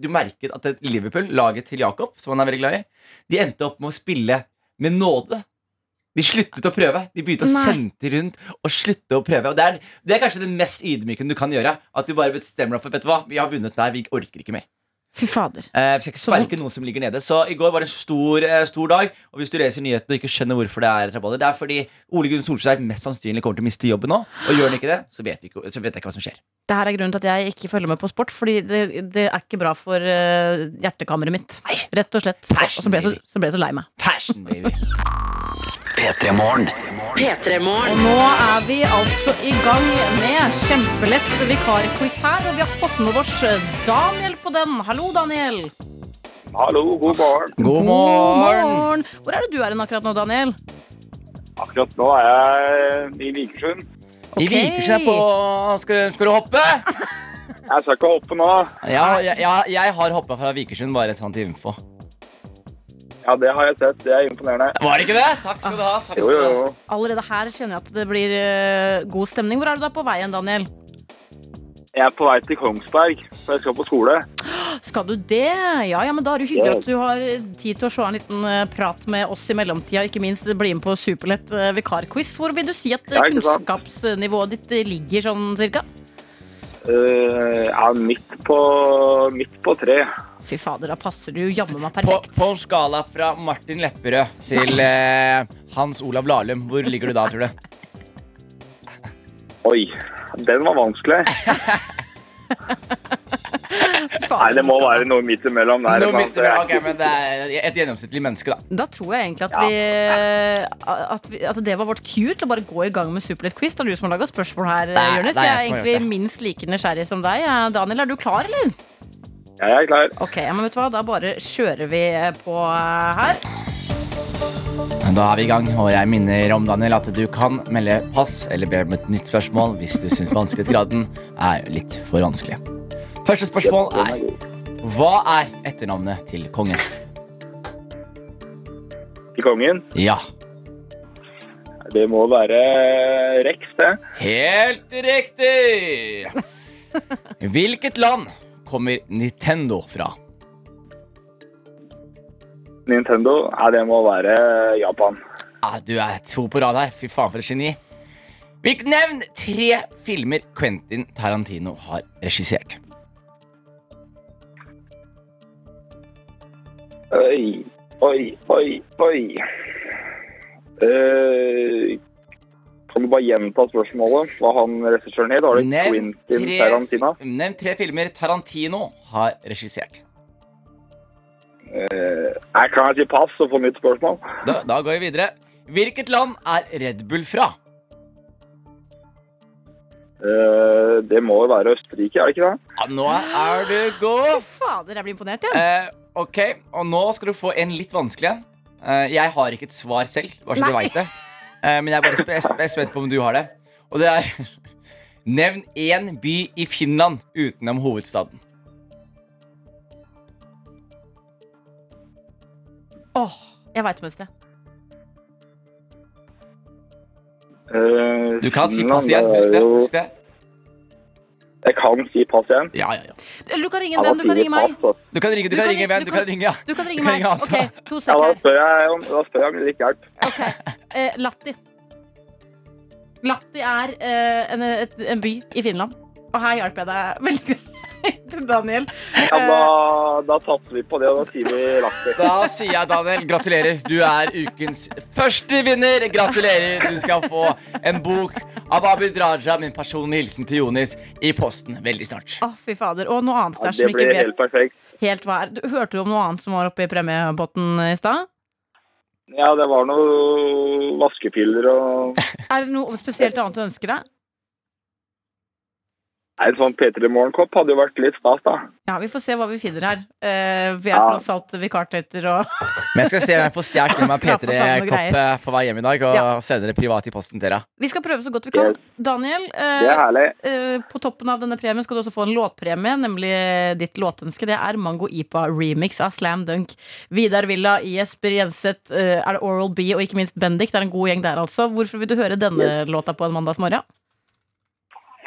Du merket at et Liverpool, laget til Jakob, som han er veldig glad i, de endte opp med å spille med nåde. De sluttet å prøve. De begynte å
Nei.
sende rundt og slutte å prøve. Og det er, det er kanskje den mest ydmykende du kan gjøre. At du bare bestemmer deg for Vet du hva, vi har vunnet der, vi orker ikke mer.
Fy fader.
Eh, vi skal ikke sparke noen som ligger nede. Så i går var det en stor, eh, stor dag. Og hvis du leser nyhetene og ikke skjønner hvorfor det er rabalder, det er fordi Ole Gunn Solskjær mest sannsynlig kommer til å miste jobben nå. Og gjør han ikke det, så vet, vi ikke, så vet jeg ikke hva som skjer.
Det her er grunnen til at jeg ikke følger med på sport, fordi det, det er ikke bra for eh, hjertekammeret mitt. Rett og slett. Og så ble jeg så, så, ble jeg så lei meg.
Passion, baby.
P3-morgen.
Og nå er vi altså i gang med kjempelett vikarquiz her, og vi har fått med oss eh, Daniel på den. Hallo, Daniel.
Hallo, god morgen.
God
God
morgen!
morgen. Hvor er det du er hen akkurat nå, Daniel?
Akkurat nå er jeg i Vikersund.
I Vikersund er på skal, skal du hoppe?
Jeg skal ikke hoppe nå.
Ja, jeg, jeg, jeg har hoppa fra Vikersund, bare sånn til info.
Ja, det har jeg sett. Det er imponerende.
Var det ikke det? Takk skal du ha. Takk
Jo,
skal
jo,
du ha.
jo.
Allerede her kjenner jeg at det blir eh, god stemning. Hvor er du da på veien, Daniel?
Jeg er på vei til Kongsberg, for jeg skal på skole.
Skal du det? Ja, ja, men da er det jo hyggelig
Ja.
at du har tid til å se en liten eh, prat med oss i mellomtida. Ikke minst bli med på Superlett eh, vikarquiz. Hvor vil du si at eh,
Ja, ikke sant.
kunnskapsnivået ditt eh, ligger sånn cirka?
Eh, jeg er midt på, midt på tre.
Fy fader, da passer du jo jammen meg
På,
perfekt.
på en skala fra Martin Lepperød til eh, Hans Olav Lahlum, hvor ligger du da, tror du?
Oi, den var vanskelig.
Fy
Nei,
fader,
det må være noe midt imellom. der,
Nå
men
midt,
det er
ok,
ikke-
men det er et gjennomsnittlig menneske, da.
Da tror jeg egentlig at,
Ja.
vi, at, vi, at det var vårt cue til å bare gå i gang med Superlett-quiz. Det er du som har laga spørsmål her,
Nei,
Jonis. Jeg er
det er jeg som har
egentlig
gjort det.
minst like nysgjerrig som deg. Eh, Daniel, er du klar, eller?
Jeg er klar.
Ok, ja, men vet du hva, Da bare kjører vi på eh, her.
Da er vi i gang, og jeg minner om Daniel at du kan melde pass eller be om et nytt spørsmål hvis du syns vanskelighetsgraden er litt for vanskelig. Første spørsmål
Den
er
er god.
hva er etternavnet til kongen?
Til kongen.
Ja,
Det må være Rex, det.
helt riktig! Hvilket land kommer Nintendo fra?
Nintendo. Nei, det må være Japan.
Ah, du er to på rad her. Fy faen, for et geni. Vi nevn tre filmer Quentin Tarantino har regissert.
Oi, oi, oi, oi. Eh, kan du bare gjenta spørsmålet? Hva han regissøren het? Var det
Nevn
Quentin
tre-
Tarantino?
Nevn tre filmer Tarantino har regissert.
Eh, jeg kan ikke si pass og få nytt spørsmål.
Da, da går vi videre. Hvilket land er Red Bull fra?
Eh, det må jo være Østerrike, er det ikke det?
Ja, Ah, nå er du god.
Fader, jeg blir imponert, ja.
Eh, ok, og nå skal du få en litt vanskelig en. Eh, jeg har ikke et svar selv, bare så du
Nei.
vet det. Eh, men jeg er bare sp jeg sp jeg er spent på om du har det. Og det er [LAUGHS] Nevn én by i Finland utenom hovedstaden.
Åh, jeg veit mønsteret.
Eh,
Du kan si
Finland,
pass igjen.
det er
Husk det.
jo-
Husk det.
Jeg kan si pass igjen.
Ja, ja, ja.
Du kan ringe
Jeg
den,
må
du kan
si
ringe meg.
pass, altså.
Du kan ringe, du
Du
kan
kan
ringe
ringe-
hvem?
du
Du
kan-
kan ringe, ja.
Du kan ringe
Du kan
meg.
ringe han,
Ok,
da.
[LAUGHS]
to
Ja, da
sekunder.
spør jeg om, da spør jeg om litt hjelp.
Ok. Eh, Latti. Latti er eh, en, et, en by i Finland. Og her hjalp jeg deg veldig [LAUGHS] greit, Daniel.
Ja,
Eh.
da, da satser vi på det, og da sier vi Lahti.
Da sier jeg, Daniel, gratulerer. Du er ukens første vinner. Gratulerer. Du skal få en bok av Abid Raja, min personlige hilsen til Jonis, i posten veldig snart.
Å, fy fader. Og noe annet
Ja,
der som
det
ikke
blir
vet
helt perfekt.
helt hva er. Du, hørte du om noe annet som var oppe i premiepotten i stad?
Ja, det var noen vaskepiller og
Er det noe spesielt annet du ønsker deg?
Nei, En sånn P3 Morgenkopp hadde jo vært litt stas, da.
Ja, Vi får se hva vi finner her. Eh, vi er
Ja.
tross alt vikartøyter og [LAUGHS]
Men jeg skal se om jeg får stjålet med meg
Skal på samme
P3-kopp eh, på vei hjem i dag, og
Ja.
sender det privat i posten til dere.
Vi skal prøve så godt vi kan.
Yes.
Daniel, eh,
Det er herlig.
eh, på toppen av denne premien skal du også få en låtpremie, nemlig eh, ditt låtønske. Det er Mango Ipa remix av Slam Dunk. Vidar Villa, Jesper Jenseth, eh, er det Oral B og ikke minst Bendik. Det er en god gjeng der, altså. Hvorfor vil du høre denne låta på en mandagsmorgen?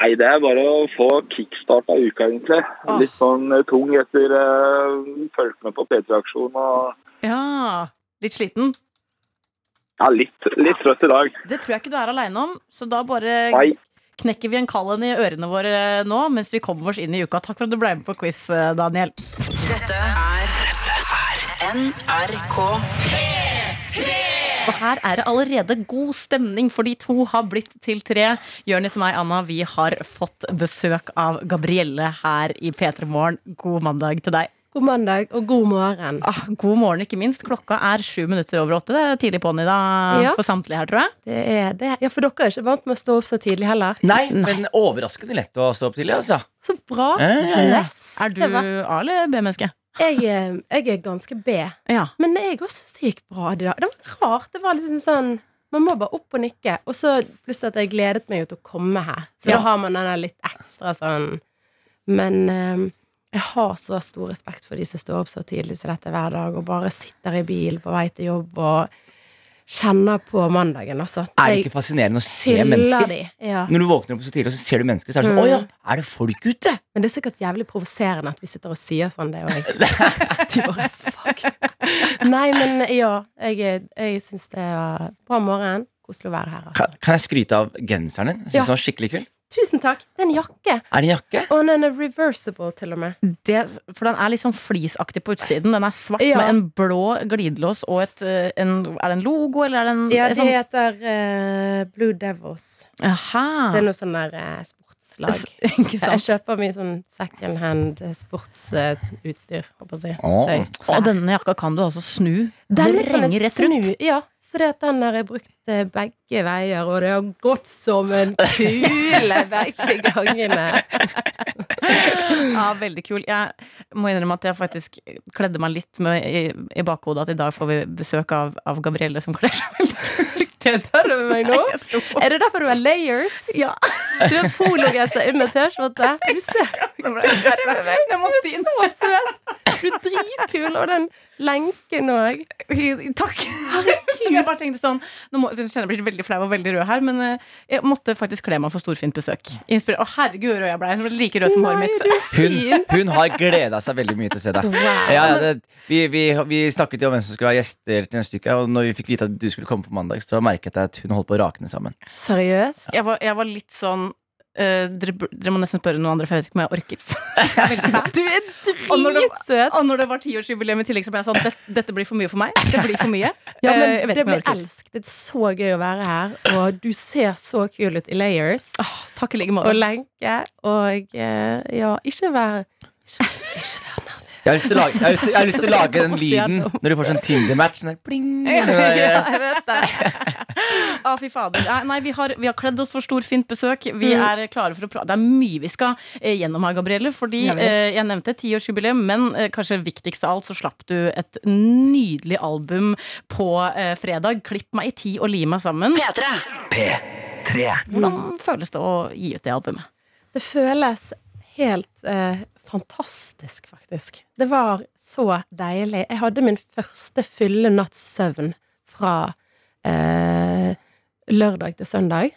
Nei, det er bare å få kickstart av uka, egentlig.
Ah.
Litt sånn eh, tung etter uh, Fulgte med på P3-aksjonen og
Ja, litt sliten?
Ja, litt, litt trøtt i dag.
Det tror jeg ikke du er aleine om, så da bare
Nei.
knekker vi en kall en i ørene våre nå mens vi kommer oss inn i uka. Takk for at du ble med på quiz, eh, Daniel.
Dette er NRK
Og her er det allerede god stemning, for de to har blitt til tre. Jørnis og meg, Anna, vi har fått besøk av Gabrielle her i P3 Morgen. God mandag til deg.
God mandag og god morgen.
Ah, god morgen, ikke minst. Klokka er sju minutter over åtte. Det er tidlig på'n i dag
Ja.
for samtlige her, tror jeg.
Det er det. Ja, For dere er ikke vant med å stå opp så tidlig heller.
Nei, men overraskende lett å stå opp tidlig, altså.
Så bra!
Ja, ja, ja.
Yes.
Er du
Det var-
A- eller B-menneske?
Jeg, eh, jeg er ganske B.
Ja.
Men jeg også synes det gikk bra i dag. Det var rart. Det var liksom sånn Man må bare opp og nikke. Og så pluss at jeg gledet meg jo til å komme her. Så
Ja.
da har man den der litt ekstra sånn Men eh, jeg har så stor respekt for de som står opp så tidlig som dette hver dag, og bare sitter i bil på vei til jobb og kjenner på mandagen, altså.
Er det
Jeg
ikke fascinerende å se
fyller
mennesker?
de. Ja.
Når du våkner opp så tidlig, og så ser du mennesker, så er det sånn Å ja, er det folk ute?
Men det er sikkert jævlig provoserende at vi sitter og sier sånn, det òg. De bare fuck. Nei, men ja. Jeg, jeg syns det var bra morgen. Koselig å være her. altså.
Kan, kan jeg skryte av genseren din? Jeg synes
Ja.
den var skikkelig kul.
Tusen takk! Det er en jakke.
Er det en jakke?
Og den er reversible, til og med.
Det, for den er litt sånn flisaktig på utsiden. Den er svart
Ja.
med en blå glidelås og et eh, en, Er det en logo, eller er sånn- det en
Ja,
en
de heter eh, Blue Devils.
sånn, aha.
Det er noe sånn der eh, sportslag.
[LAUGHS] Ikke sant?
Jeg kjøper mye sånn second hand eh, sportsutstyr, håper jeg å si. Tøy.
Og denne jakka kan du altså snu.
Denne kan
Vrenge
jeg
rett rundt.
snu, Ja, så det at den der er brukt eh, begge veier, og det har gått som [LAUGHS] en kule begge gangene.
Ja, veldig kul. Jeg må innrømme at jeg faktisk kledde meg litt med i, i bakhodet at i dag får vi besøk av, av Gabrielle som kler seg veldig kult.
Det tar du meg nå?
Jeg sto-
Er det derfor du har layers?
Ja,
Du har pologenser under T-skjorte. Du ser
jeg måtte inn.
så søt Du er dritkul, og den lenken òg.
Takk. [LAUGHS]
[LAUGHS]
Jeg bare tenkte sånn Nå må, jeg kjenner jeg blir veldig flau og veldig rød her, men eh, jeg måtte faktisk kle meg for storfint besøk. Inspir Å, herregud, hvor rød jeg ble. Hun ble like rød som håret mitt. [LAUGHS]
Hun, hun har gleda seg veldig mye til å se deg. Ja, ja, det, vi, vi, vi snakket jo om hvem som skulle ha gjester til neste uke, og når vi fikk vite at du skulle komme på mandag, så merket jeg at hun holdt på å rakne sammen.
Seriøst?
Jeg var, jeg var litt sånn eh, dere, bur- dere må nesten spørre noen andre, for jeg vet ikke om jeg orker. Jeg er veldig flau.
Du er
Og når det-
dritsøt!
Og når det var tiårsjubileum i tillegg, så ble jeg sånn Dette, dette blir for mye for meg. Det blir for mye.
[LAUGHS] Ja,
Eh, jeg
men
vet ikke
det
om
blir
jeg orker.
elsk. Det er så gøy å være her, og du ser så kul ut i layers.
Åh, Takk i like
og
måte.
lenke og eh, ja, ikke vær ikke, ikke vær nervøs.
Jeg har lyst til å lage, jeg har lyst, jeg har lyst til å lage den lyden når du får sånn Tinder-match. Sånn der, pling, den
[LAUGHS]
der, eh,
jeg vet det. Å, fy fader. Nei, Nei, vi har, vi har kledd oss for storfint besøk. Vi
Mm.
er klare for å prate. Det er mye vi skal eh, gjennom her, Gabrielle. Fordi
Ja, visst.
eh, jeg nevnte tiårsjubileum, men eh, kanskje viktigst av alt så slapp du et nydelig album på eh, fredag. 'Klipp meg i ti og li meg sammen'.
P3.
Hvordan føles det å gi ut det albumet?
Det føles helt eh, fantastisk, faktisk. Det var så deilig. Jeg hadde min første fulle natts søvn fra eh, lørdag til søndag.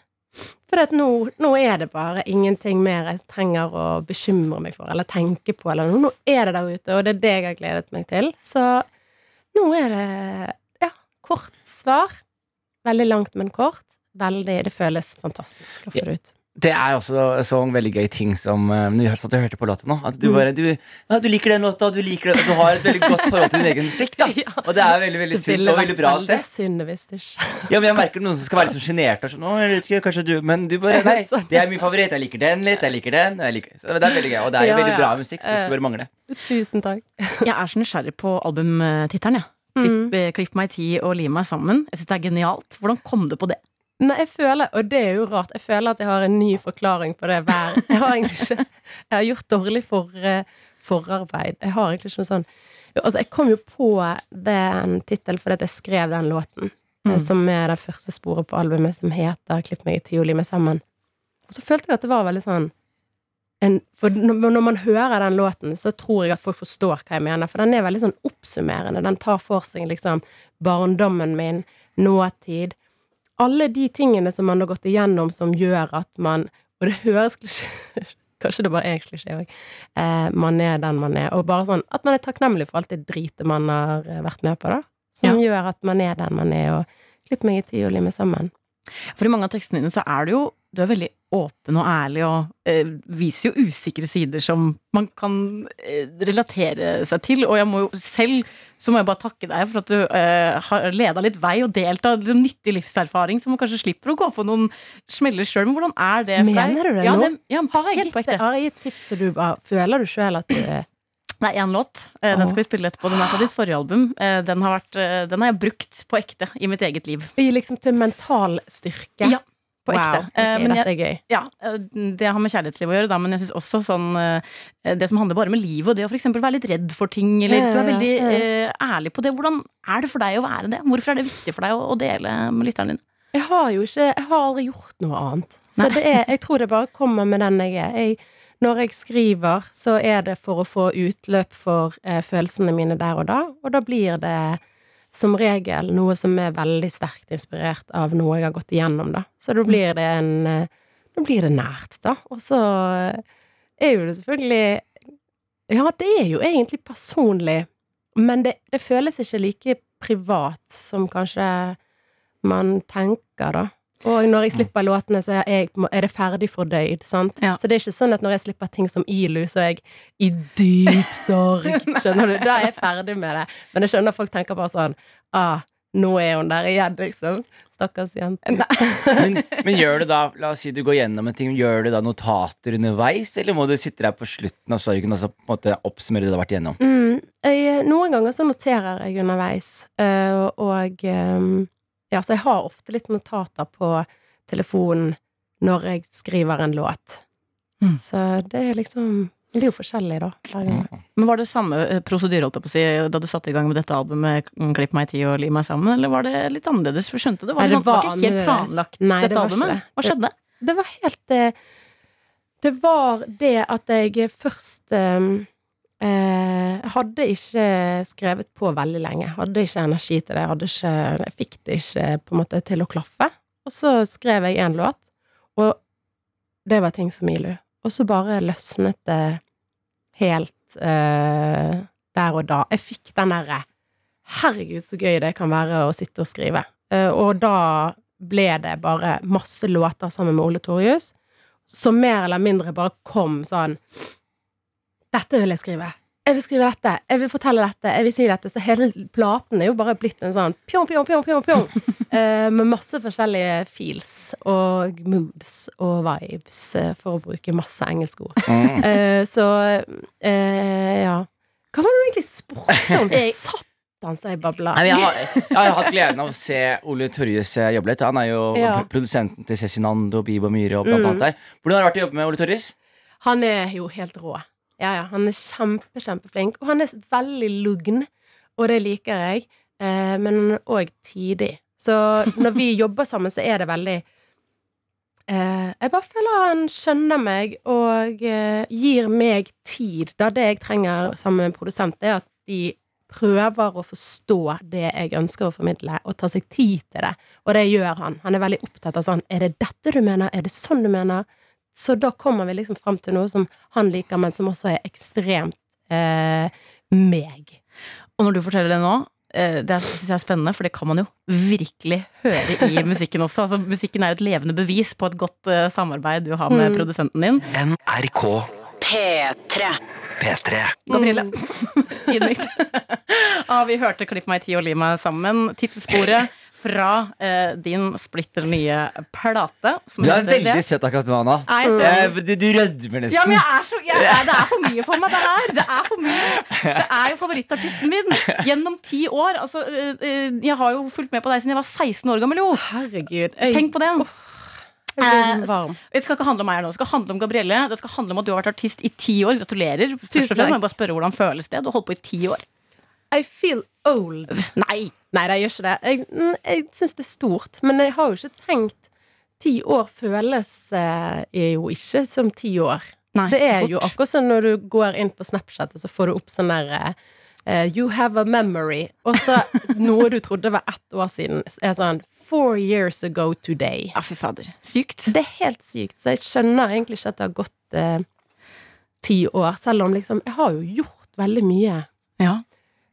For at nå, nå er det bare ingenting mer jeg trenger å bekymre meg for eller tenke på. Eller noe. Nå er det der ute, og det er det jeg har gledet meg til. Så nå er det ja, kort svar. Veldig langt, men kort. Veldig, det føles fantastisk å få det ut.
Det er også så en sånn veldig gøy ting som eh, Når vi hørte, at du hørte på låta nå At du bare, du, ja, du liker den låta, og du liker den og Du har et veldig godt forhold til din egen musikk [LAUGHS] da
Ja.
Og det er veldig, veldig sunt og veldig bra å se
synd hvis det ikke
Ja, men jeg merker noen som skal være litt sånn genert og sånn, «Å, jeg vet ikke, kanskje du Men du
[LAUGHS]
bare, nei, det er min favoritt, jeg liker den litt Jeg liker den, jeg liker Så det er veldig gøy, og det er jo
Ja,
veldig
ja.
bra musikk Så det skulle bare mangle
[LAUGHS] Tusen takk.
Jeg er så nysgjerrig på
Mm.
albumtittelen, jeg. Klipp, eh, klipp meg i ti og li meg sammen. Jeg synes det er genialt. Hvordan kom du på det?
Nei, jeg føler, og det er jo rart, jeg føler at jeg har en ny forklaring på det hver [LAUGHS] Jeg har egentlig ikke Jeg har gjort dårlig for, eh, forarbeid. Jeg har egentlig ikke noe sånn Jo, Altså, jeg kom jo på den tittelen fordi at jeg skrev den låten, eh, som er det første sporet på albumet, som heter 'Klipp meg i tioli med sammen'. Og så følte jeg at det var veldig sånn en, For når når man hører den låten, så tror jeg at folk forstår hva jeg mener, for den er veldig sånn oppsummerende. Den tar for seg liksom barndommen min, nåtid alle de tingene som man har gått igjennom som gjør at man Og det høres klisjé [LAUGHS] Kanskje det bare er klisjé òg. Eh, man er den man er. Og bare sånn at man er takknemlig for alt det dritet man har eh, vært med på, da. Som gjør at man er den man er, og klipp meg i tioli med sammen.
For i mange av tekstene dine så er du jo Du er veldig åpen og ærlig og eh, viser jo usikre sider som man kan eh, relatere seg til. Og jeg må jo selv så må jeg bare takke deg for at du eh, har leda litt vei og delt av liksom, nyttig livserfaring, så man kanskje slipper å gå på noen smeller sjøl. Men hvordan er det for deg?
Mener du det
ja,
nå?
Det, ja,
Har jeg,
helt på
gitt,
ekte.
har jeg gitt tips, og du bare Føler du sjøl at du er
Det er én låt. Eh, Den skal vi spille etterpå. Den er fra ditt forrige album. Eh, Den har, vært, eh, den har jeg brukt på ekte i mitt eget liv.
I liksom til mental styrke?
Ja, på ekte.
Wow.
Eh,
ok,
men jeg-
dette er gøy.
Ja, eh, det har med kjærlighetsliv å gjøre, da, men jeg synes også sånn eh, Det som handler bare med livet, og det å f.eks. være litt redd for ting, eller
Ja,
Du er
ja,
veldig
ja.
eh, ærlig på det. Hvordan er det for deg å være det? Hvorfor er det viktig for deg å, å dele med lytteren din?
Jeg har jo ikke Jeg har aldri gjort noe annet. Så det er, jeg tror det bare kommer med den jeg er. Jeg, når jeg skriver, så er det for å få utløp for eh, følelsene mine der og da, og da blir det som regel noe som er veldig sterkt inspirert av noe jeg har gått igjennom, da. Så da blir det en eh, Da blir det nært, da. Og så eh, er jo det selvfølgelig Ja, det er jo egentlig personlig, men det, det føles ikke like privat som kanskje man tenker, da. Og når jeg slipper låtene, så er, jeg, på en må- er det ferdig fordøyd. sant?
Ja.
Så det er ikke sånn at når jeg slipper ting som ILU, så er jeg i dyp sorg. Skjønner du? Da er jeg ferdig med det. Men jeg skjønner at folk tenker bare sånn ah, Nå er hun der igjen, liksom. Stakkars jente.
Men, men gjør du da, la oss si du går gjennom en ting, gjør du da notater underveis, eller må du sitte der på slutten av sorgen og så på en måte oppsummere det du har vært igjennom?
Mm, jeg, noen ganger så noterer jeg underveis, eh, og eh, Ja, så jeg har ofte litt notater på telefonen når jeg skriver en låt.
Mm.
Så det er liksom Det er jo forskjellig, da. Hver gang.
Men Var det samme eh, prosedyre holdt jeg på å si, da du satte i gang med dette albumet, mm, 'Klipp meg i ti og li meg sammen', eller var det litt annerledes? For skjønte du? Var det,
Nei,
sånn, det var
det var
ikke helt
annerledes.
planlagt,
Nei, det
dette
var ikke
albumet?
det.
Hva skjedde?
Det var helt eh, Det var det at jeg først eh, eh, Hadde ikke skrevet på veldig lenge. Hadde ikke energi til det. Hadde ikke, jeg fikk det ikke på en måte til å klaffe. Og så skrev jeg én låt, og det var ting som Ilu. Og så bare løsnet det helt eh, der og da. Jeg fikk den derre Herregud, så gøy det kan være å sitte og skrive. Eh, og da ble det bare masse låter sammen med Ole Torjus, som mer eller mindre bare kom sånn Dette vil jeg skrive. Jeg vil skrive dette. Jeg vil fortelle dette. Jeg vil si dette. Så hele platen er jo bare blitt en sånn pjong, pjong, pjong, pjong,
[LAUGHS]
pjong. eh, med masse forskjellige feels og moods og vibes, eh, for å bruke masse
[LAUGHS]
engelske ord. Eh, så eh, ja. Hva var det du egentlig spurte
[LAUGHS]
om? Satan, så jeg babla.
Nei, men jeg, har, jeg har hatt gleden av å se Ole Torjus eh, jobbe litt. Han er jo
Ja. Mm.
pro- produsenten til Cezinando, Bibo Myhre og blant annet der. Hvordan har det vært å jobbe med Ole Torjus?
Han er jo helt rå. Ja, ja, han er kjempe, kjempeflink. Og han er veldig lugn, og det liker jeg. Eh, men han er òg tidig. Så når vi jobber sammen, så er det veldig eh, Jeg bare føler han skjønner meg og eh, gir meg tid. Da det jeg trenger sammen med en produsent, det er at de prøver å forstå det jeg ønsker å formidle, og ta seg tid til det. Og det gjør han. Han er veldig opptatt av sånn Er det dette du mener? Er det sånn du mener? Så da kommer vi liksom fram til noe som han liker, men som også er ekstremt eh, meg.
Og når du forteller det nå eh, det synes jeg er spennende, for det kan man jo virkelig høre i musikken også. Altså, musikken er jo et levende bevis på et godt eh, samarbeid du har med produsenten din.
NRK
P3.
P3.
Gabrielle.
Mm.
[LAUGHS] Ydmykt. ah, vi hørte 'Klipp meg i ti og li meg sammen'. Tittelsporet fra eh, din splitter nye plate. Som
Du er
heter
veldig
det.
søt akkurat nå, Anna.
Nei, jeg ser-
Eh, Du, du rødmer
Ja, men
nesten.
jeg er så, jeg, er- det er for mye for meg. Det er, det er for mye. Det er jo favorittartisten min gjennom ti år. Altså, eh, eh, jeg har jo fulgt med på deg siden jeg var 16 år gammel, jo.
Herregud. Jeg,
Tenk på det.
jeg blir varm.
Det skal ikke handle om meg her nå, det skal handle om Gabrielle. Det skal handle om at du har vært artist i ti år. Gratulerer. Først og
Tusen takk.
fremst må jeg bare spørre hvordan føles det? Du har holdt på i ti år.
I feel old.
Nei!
Nei, det gjør ikke det. Jeg, mm, jeg syns det er stort, men jeg har jo ikke tenkt Ti år føles eh, er jo ikke som ti år.
Nei,
det er
fort.
jo akkurat som når du går inn på Snapchat, og så får du opp sånn der eh, You have a memory. Og [LAUGHS] så noe du trodde var ett år siden, er sånn Four years ago today.
Ja, fy fader. Sykt.
Det er helt sykt, så jeg skjønner egentlig ikke at det har gått eh, ti år, selv om liksom Jeg har jo gjort veldig mye.
Ja.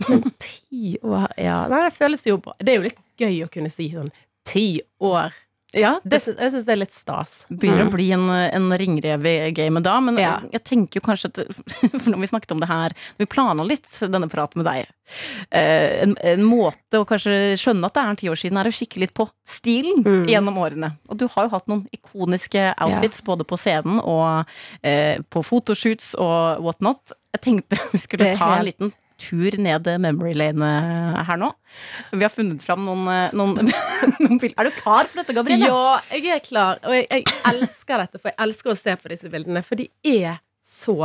Men ti år, ja Nei, det føles jo bra. Det er jo litt gøy å kunne si sånn ti år.
ja
Det syns, jeg syns det er litt stas.
begynner å bli en, en ringrev i gamet da, men
Ja.
jeg tenker jo kanskje at [LAUGHS] For når vi snakket om det her, når vi planla litt denne praten med deg eh, en, en måte å kanskje skjønne at det er en ti år siden, er å kikke litt på stilen
Mm.
gjennom årene. Og du har jo hatt noen ikoniske outfits både på scenen og eh, på fotoshoots og whatnot. Jeg tenkte [LAUGHS] vi skulle
Det er
ta en
helt-
liten tur ned memory lane eh, her nå. Vi har funnet fram noen, eh, noen, [LAUGHS] noen bilder. Er du klar for dette, Gabrielle?
Ja, jeg er klar, og jeg, jeg elsker dette, for jeg elsker å se på disse bildene, for de er så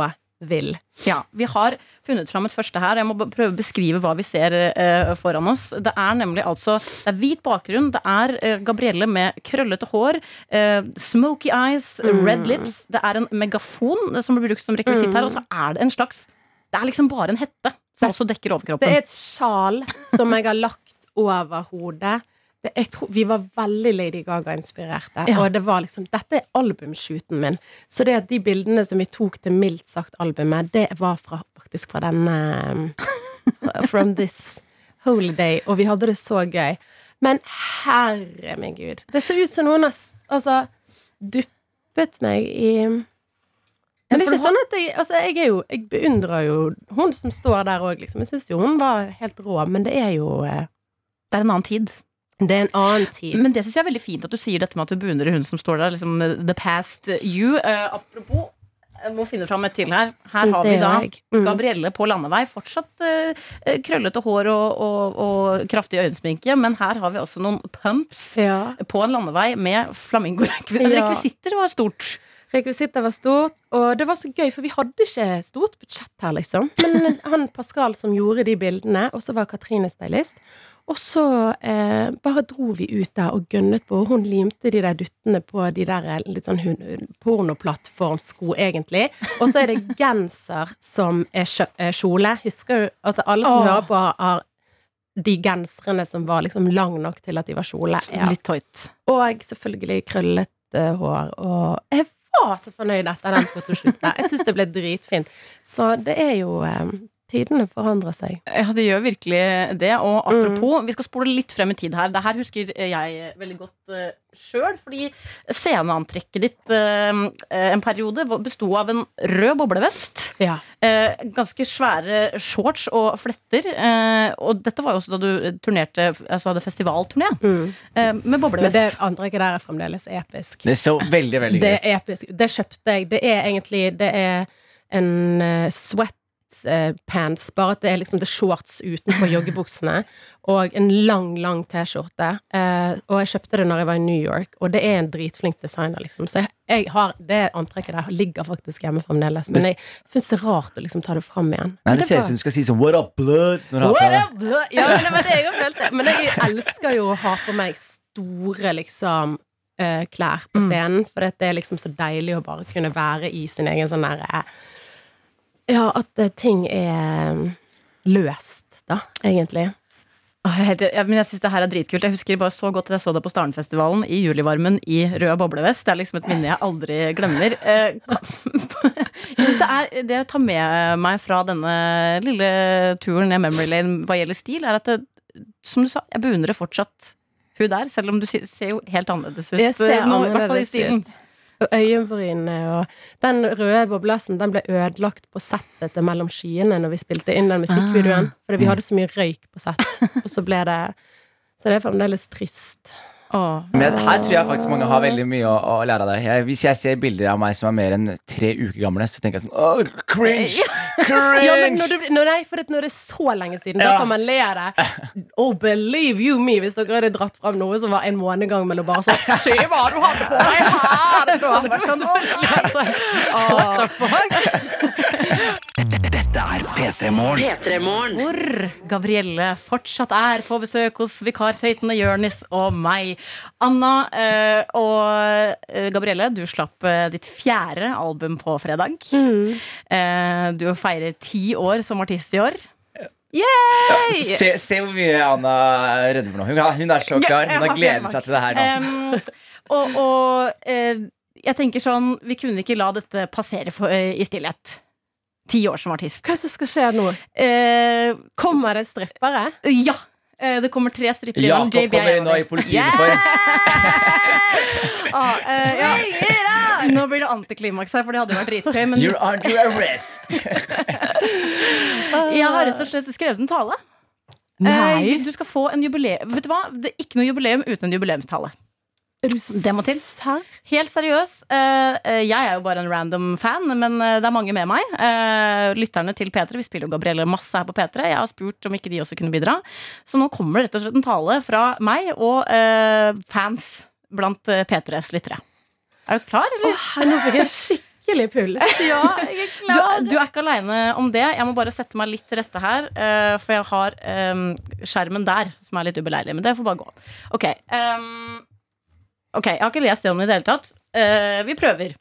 ville.
Ja, Vi har funnet fram et første her. Jeg må b- prøve å beskrive hva vi ser eh, foran oss. Det er nemlig altså Det er hvit bakgrunn. Det er eh, Gabrielle med krøllete hår, eh, smoky eyes,
Mm.
red lips. Det er en megafon eh, som blir brukt som rekvisitt her, og så er det en slags Det er liksom bare en hette som også dekker
Mm. Det
overkroppen.
er et sjal som jeg har lagt over hodet. Det, jeg tror, vi var veldig Lady Gaga-inspirerte.
Ja.
Og det var liksom, dette er albumshooten min. Så det at de bildene som vi tok til mildt sagt albumet, det var fra, faktisk fra denne [LAUGHS] From This Holiday. Og vi hadde det så gøy. Men herre min gud. Det ser ut som noen har s- altså, duppet meg i men det er
for
ikke sånn at jeg, altså jeg, er jo, jeg beundrer jo hun som står der òg, liksom. Jeg syns jo hun var helt rå, men det er jo eh,
Det er en annen tid.
Det er en annen tid.
Men det syns jeg er veldig fint at du sier dette med at du beundrer hun som står der. Liksom, eh, the past you. Eh, apropos, jeg må finne fram et til her. Her har
Det
vi da
gjør jeg. Mm.
Gabrielle på landevei. Fortsatt eh, eh, krøllete hår og, og, og kraftig øyensminke, men her har vi også noen pumps.
Ja.
På en landevei med flamingorekvisitter.
Ja.
Rekvisitter var stort.
Rekvisitter var stort, og det var så gøy, for vi hadde ikke stort budsjett her, liksom. Men [LAUGHS] han Pascal som gjorde de bildene, og så var Katrine stylist. Og så eh, bare dro vi ut der og gønnet på. og Hun limte de der duttene på de der eh, litt sånn hun- pornoplattformsko, egentlig. Og så er det genser som er kjø- eh, kjole. Husker du? Altså, alle som
Åh.
hører på, har de genserne som var liksom lang nok til at de var kjole. Ja.
Litt tøyt.
Og selvfølgelig krøllet eh, hår. Og jeg var så fornøyd etter den fotoshooten. Jeg syns det ble dritfint. Så det er jo eh, Tidene forandrer seg.
Ja, det gjør virkelig det. Og
Mm.
apropos, vi skal spole litt frem i tid her. Det her husker jeg veldig godt uh, sjøl, fordi sceneantrekket ditt eh, en periode var- besto av en rød boblevest.
Ja.
eh, ganske svære shorts og fletter. eh, og dette var jo også da du turnerte Altså hadde festivalturné
Mm.
eh, med
Men
boblevest.
det antrekket der er fremdeles episk.
Det er så veldig, veldig
Det
gøy.
er episk. Det kjøpte jeg. Det er egentlig Det er en eh, sweat eh, pants, bare at det er liksom det er shorts utenpå joggebuksene, og en lang, lang T-skjorte. Eh, og jeg kjøpte det når jeg var i New York, og det er en dritflink designer, liksom. Så jeg, jeg har det antrekket der ligger faktisk hjemme fremdeles, men jeg syns det er rart å liksom ta det fram igjen.
Nei,
Men
det ser ut
var-
som du skal si sånn What up, blood? Når du har på
What
deg.
up, bro? [LAUGHS] Ja, men det var det jeg følte. Men jeg elsker jo å ha på meg store, liksom eh, klær på scenen, for det er liksom så deilig å bare kunne være i sin egen sånn der eh, Ja, at eh, ting er mm, løst, da, egentlig.
Åh, Ah, jeg er helt- ja, men jeg syns det her er dritkult. Jeg husker bare så godt at jeg så deg på Starnfestivalen i julivarmen i rød boblevest. Det er liksom et minne jeg aldri glemmer. Eh, [LAUGHS] kan- Jeg synes det, er, det jeg tar med meg fra denne lille turen ned memory lane hva gjelder stil, er at det, som du sa, jeg beundrer fortsatt hun der, selv om du si- ser jo helt annerledes ut.
Jeg ser
eh, nå, i hvert fall i
annerledes
stilen.
ut. Og øyenbrynene og Den røde boblassen den ble ødelagt på settet til Mellom
Ah.
skyene når vi spilte inn den musikkvideoen. Fordi vi hadde så mye røyk på sett, og så ble det Så det er fremdeles trist.
Åh.
Men her tror jeg faktisk mange har veldig mye å, å lære av deg. Jeg, hvis jeg ser bilder av meg som er mer enn tre uker gamle, så tenker jeg sånn Åh, cringe! Cringe!
Ja, men når det, blir- når, nei, for at når det er så lenge siden, da
Ja.
kan man le av det. Oh, believe you me, hvis dere hadde dratt fram noe som var en måned gammel, og bare [LAUGHS] sånn Se hva du hadde på deg [LAUGHS] her! Det var bare sånn, «Å, nei!»
hvor Gabrielle fortsatt er på besøk hos vikartøytene Jørnis og meg. Anna eh, og eh, Gabrielle, du slapp eh, ditt fjerde album på fredag.
Mm.
Eh, Du feirer ti år som artist i år.
se, se hvor mye Anna rødmer nå. Hun, hun er så klar.
jeg
Hun
har
har gledet seg til det her nå.
Em, og og eh, jeg tenker sånn, vi kunne ikke la dette passere for, eh, i stillhet. Ti år som artist.
Hva som skal skje nå?
Eh,
Kommer det strippere?
ja! Eh, det kommer tre strippere
Jakob
JBI
kommer inn nå
over.
i politiuniform.
Ah, eh, ja. Nå blir det antiklimaks her, for det hadde jo vært dritgøy. Men
You're under arrest!
jeg har rett og slett skrevet en tale. Eh, du skal få en jubileum Vet du hva? Det er ikke noe jubileum uten en jubileumstale.
Er du
det må til.
serr?
Helt seriøs. eh, eh, jeg er jo bare en random fan, men eh, det er mange med meg. Eh, lytterne til P3, vi spiller jo Gabrielle masse her på P3. Jeg har spurt om ikke de også kunne bidra. Så nå kommer det rett og slett en tale fra meg og eh, fans blant eh, P3s lyttere. Er du klar, eller?
Åh, nå fikk jeg skikkelig
[LAUGHS]
puls.
Du, du er ikke aleine om det. Jeg må bare sette meg litt til rette her, eh, for jeg har eh, skjermen der, som er litt ubeleilig. Men det får bare gå. Ok, eh, ok, jeg har ikke lest gjennom det i det hele tatt. Eh, vi prøver.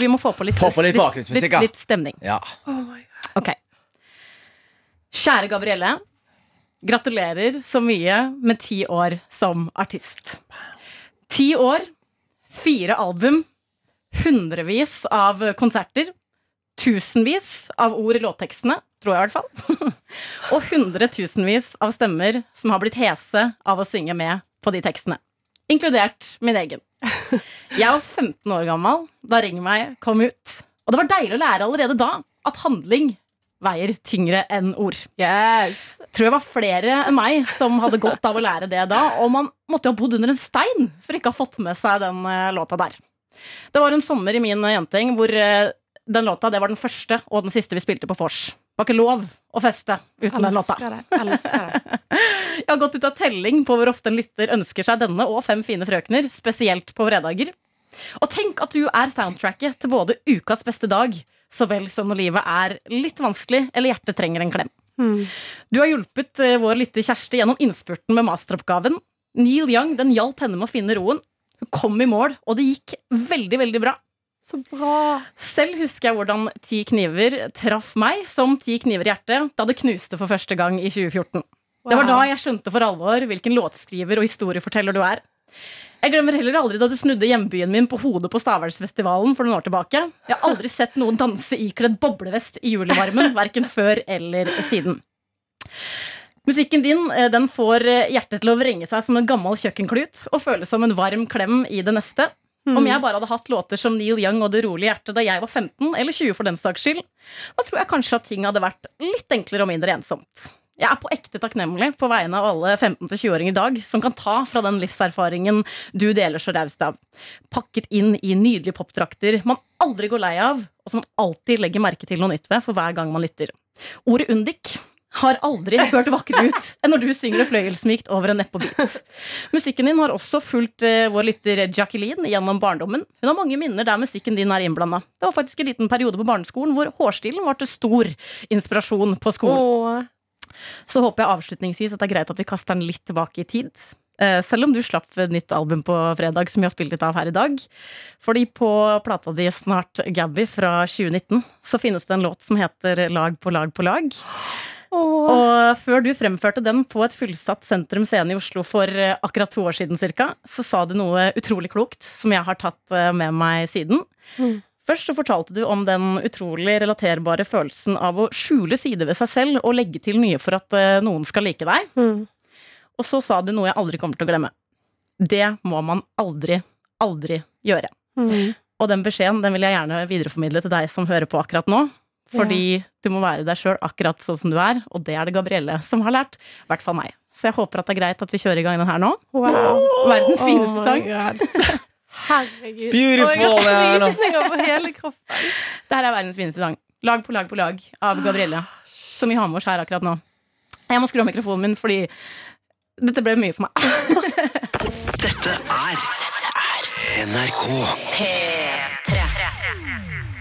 Vi må få på litt,
Få på litt bakgrunnsmusikk,
litt,
da.
litt stemning.
Ja.
Ok. Kjære Gabrielle. Gratulerer så mye med ti år som artist. Ti år, fire album, hundrevis av konserter, tusenvis av ord i låttekstene, tror jeg i hvert fall, [LAUGHS] og hundretusenvis av stemmer som har blitt hese av å synge med på de tekstene. Inkludert min egen. Jeg var 15 år gammel da Ring meg kom ut. Og det var deilig å lære allerede da at handling veier tyngre enn ord.
Yes.
Tror jeg var flere enn meg som hadde godt av å lære det da. Og man måtte jo ha bodd under en stein for ikke å ha fått med seg den eh, låta der. Det var en sommer i min eh, jenting hvor eh, den låta det var den første og den siste vi spilte på vors. Det var ikke lov å feste uten den låta.
Elsker det. Elsker det.
Jeg har gått ut av telling på hvor ofte en lytter ønsker seg denne og Fem fine frøkner, spesielt på fredager. Og tenk at du er soundtracket til både Ukas beste dag, så vel som når livet er litt vanskelig eller hjertet trenger en klem. Du har hjulpet eh, vår lytter Kjersti gjennom innspurten med masteroppgaven. Neil Young den hjalp henne med å finne roen. Hun kom i mål, og det gikk veldig, veldig bra.
[LAUGHS] Så bra.
Selv husker jeg hvordan Ti kniver traff meg som Ti kniver i hjertet da det knuste for første gang i 2014. Det var da jeg skjønte for alvor hvilken låtskriver og historieforteller du er. Jeg glemmer heller aldri da du snudde hjembyen min på hodet på Stavernfestivalen for noen år tilbake. Jeg har aldri sett noen danse ikledd boblevest i julevarmen, verken før eller siden. Musikken din eh, den får eh, hjertet til å vrenge seg som en gammel kjøkkenklut og føles som en varm klem i det neste. Om jeg bare hadde hatt låter som Neil Young og Det rolige hjertet da jeg var 15, eller 20 for den saks skyld, da tror jeg kanskje at ting hadde vært litt enklere og mindre ensomt. Jeg er på ekte takknemlig på vegne av alle 15-20-åringer i dag som kan ta fra den livserfaringen du deler så raust av. Pakket inn i nydelige popdrakter man aldri går lei av, og som man alltid legger merke til noe nytt ved for hver gang man lytter. Ordet undik har aldri hørt vakrere ut enn når du synger det fløyelsmykt over en neppebit. Musikken din har også fulgt eh, vår lytter Jacqueline gjennom barndommen. Hun har mange minner der musikken din er innblanda. Det var faktisk en liten periode på barneskolen hvor hårstilen var til stor inspirasjon på skolen.
Åh.
Så håper jeg avslutningsvis at det er greit at vi kaster den litt tilbake i tid. Eh, Selv om du slapp et nytt album på fredag, som vi har spilt litt av her i dag. Fordi på plata di Snart Gabby fra 2019 så finnes det en låt som heter Lag på lag på lag.
Åh.
Og før du fremførte den på et fullsatt Sentrum Scene i Oslo for eh, akkurat to år siden, cirka, så sa du noe utrolig klokt som jeg har tatt eh, med meg siden.
Mm.
Først så fortalte du om den utrolig relaterbare følelsen av å skjule sider ved seg selv og legge til nye for at eh, noen skal like deg.
Mm.
Og så sa du noe jeg aldri kommer til å glemme. Det må man aldri, aldri gjøre.
Mm.
Og den beskjeden den vil jeg gjerne videreformidle til deg som hører på akkurat nå. Fordi du må være deg sjøl akkurat sånn som du er, og det er det Gabrielle som har lært. I hvert fall meg. så jeg håper at det er greit at vi kjører i gang den her nå. Verdens fineste sang.
[LAUGHS] Herregud.
Beautiful! det er noe.
[LAUGHS] Frysninger på hele kroppen.
Det her er verdens fineste sang. Lag på lag på lag av Gabrielle, som vi har med oss her akkurat nå. Jeg må skru av mikrofonen min, fordi dette ble mye for meg.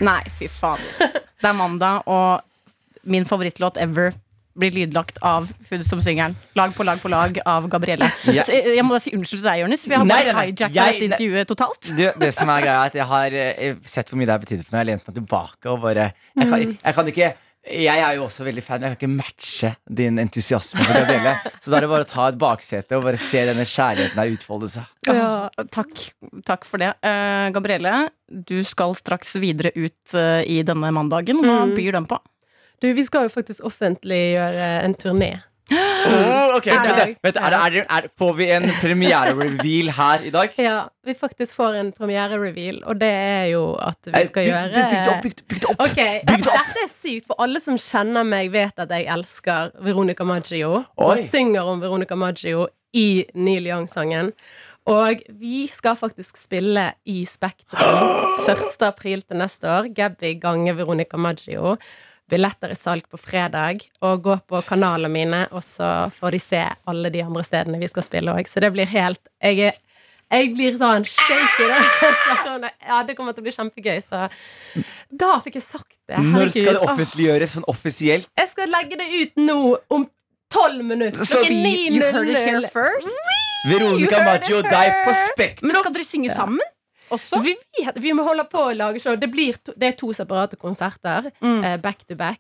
Nei, fy fader. Det er mandag, og min favorittlåt ever blir lydlagt av hun som synger den. Lag på lag på lag av Gabrielle.
Ja.
Så jeg, jeg må bare si unnskyld til deg, Jonis, for jeg har
Nei,
bare
nei, nei.
hijacka
Jeg-
dette intervjuet totalt.
Du, det som er greia er at Jeg har eh, sett hvor mye det har betydd for meg. Jeg har lent meg tilbake og bare Jeg kan,
Mm.
jeg kan ikke jeg er jo også veldig fan, men jeg kan ikke matche din entusiasme. For Gabrielle. Så da er det bare å ta et baksete og bare se denne kjærligheten her utfolde seg.
Ja.
Takk, takk for det. Eh, Gabrielle, du skal straks videre ut eh, i denne mandagen. Hva
Mm.
byr den på?
Du, vi skal jo faktisk offentliggjøre en turné. Mm.
Oh, ok,
I
vent,
dag.
vent, er det, er det, er, Får vi en premiere-reveal her i dag?
Ja, vi faktisk får en premiere-reveal, og det er jo at vi
Nei,
skal
bygg-
gjøre
Bygg bygg det opp! Bygg, det- bygg det opp.
Ok,
Bygg det opp.
Dette er sykt, for alle som kjenner meg, vet at jeg elsker Veronica Maggio.
Oi.
Og synger om Veronica Maggio i Neil Young-sangen. Og vi skal faktisk spille i
[GASPS]
Spektrum 1. april til neste år. Gabby gange Veronica Maggio. Billetter i salg på fredag. Og gå på kanalene mine, og så får de se alle de andre stedene vi skal spille òg. Så det blir helt Jeg er jeg blir sånn shaky. når jeg
[LAUGHS]
[LAUGHS] snakker om det. Sånn, Ja, det kommer til å bli kjempegøy. Så da fikk jeg sagt det.
Når skal
Herregud.
det offentliggjøres sånn offisielt?
Åh, Jeg skal legge det ut nå om tolv minutter.
Så-
Klokken
You heard it here
9.00.
first.
Veronica
You heard it
Maggio og deg på
first.
Spektrum!
Men skal dere synge sammen også?
Vi, vet- vi må holde på å lage show. Det, blir to, det er to separate konserter.
Mm.
eh, back to back.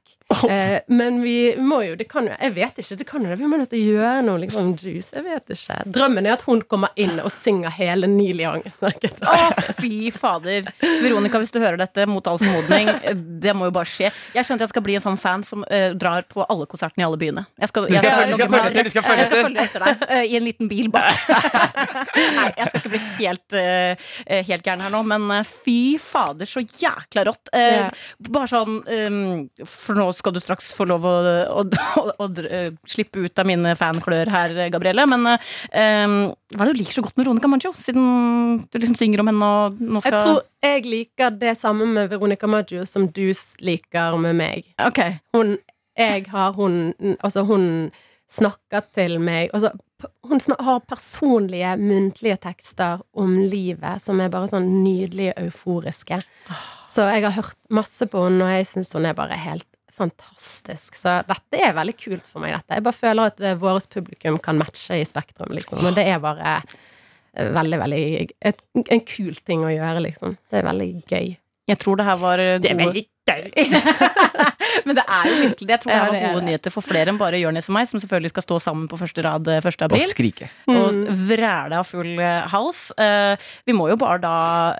Eh, men vi må jo Det kan jo Jeg vet ikke. Det kan jo det. Vi må nødt til å gjøre noe liksom juice. Jeg vet ikke. Drømmen er at hun kommer inn og synger hele Neil Young. [LAUGHS]
Å, fy fader. Veronica, hvis du hører dette, mot all formodning, eh, det må jo bare skje. Jeg skjønte jeg skal bli en sånn fan som eh, drar på alle konsertene i alle byene. Jeg skal,
Du skal
følge- du
logge
skal
meg-
følge etter, du skal følge
jeg skal
etter.
følge etter deg eh, i en liten bil bak. Nei, jeg skal ikke bli helt, eh, eh, helt gæren her nå, men eh, fy fader, så jækla rått. Eh,
Ja.
Bare sånn eh, For nå skal du straks få lov å, å, å, å dr- eh, slippe ut av mine fanklør her, eh, Gabrielle. Men eh, eh, hva er det du liker så godt med Veronica Maggio? Siden du liksom synger om henne og nå skal
Jeg tror jeg liker det samme med Veronica Maggio som du s- liker med meg.
Ok.
hun, jeg har hun Altså, hun snakker til meg altså, p- Hun snak, har personlige, muntlige tekster om livet som er bare sånn nydelige, euforiske. Så jeg har hørt masse på henne, og jeg syns hun er bare helt fantastisk. Så dette er veldig kult for meg, dette. Jeg bare føler at eh, vårt publikum kan matche i Spektrum, liksom. Og det er bare eh, veldig, veldig et, En kul ting å gjøre, liksom. Det er veldig gøy.
Jeg tror det her var eh, gode [LAUGHS] Men det er jo virkelig det. Jeg tror det her
Ja, det er
var gode
det.
nyheter for flere enn bare Jonis og meg, som selvfølgelig skal stå sammen på første rad eh, 1. april.
skrike.
Mm.
og vræle av full eh, hals. Eh, vi må jo bare da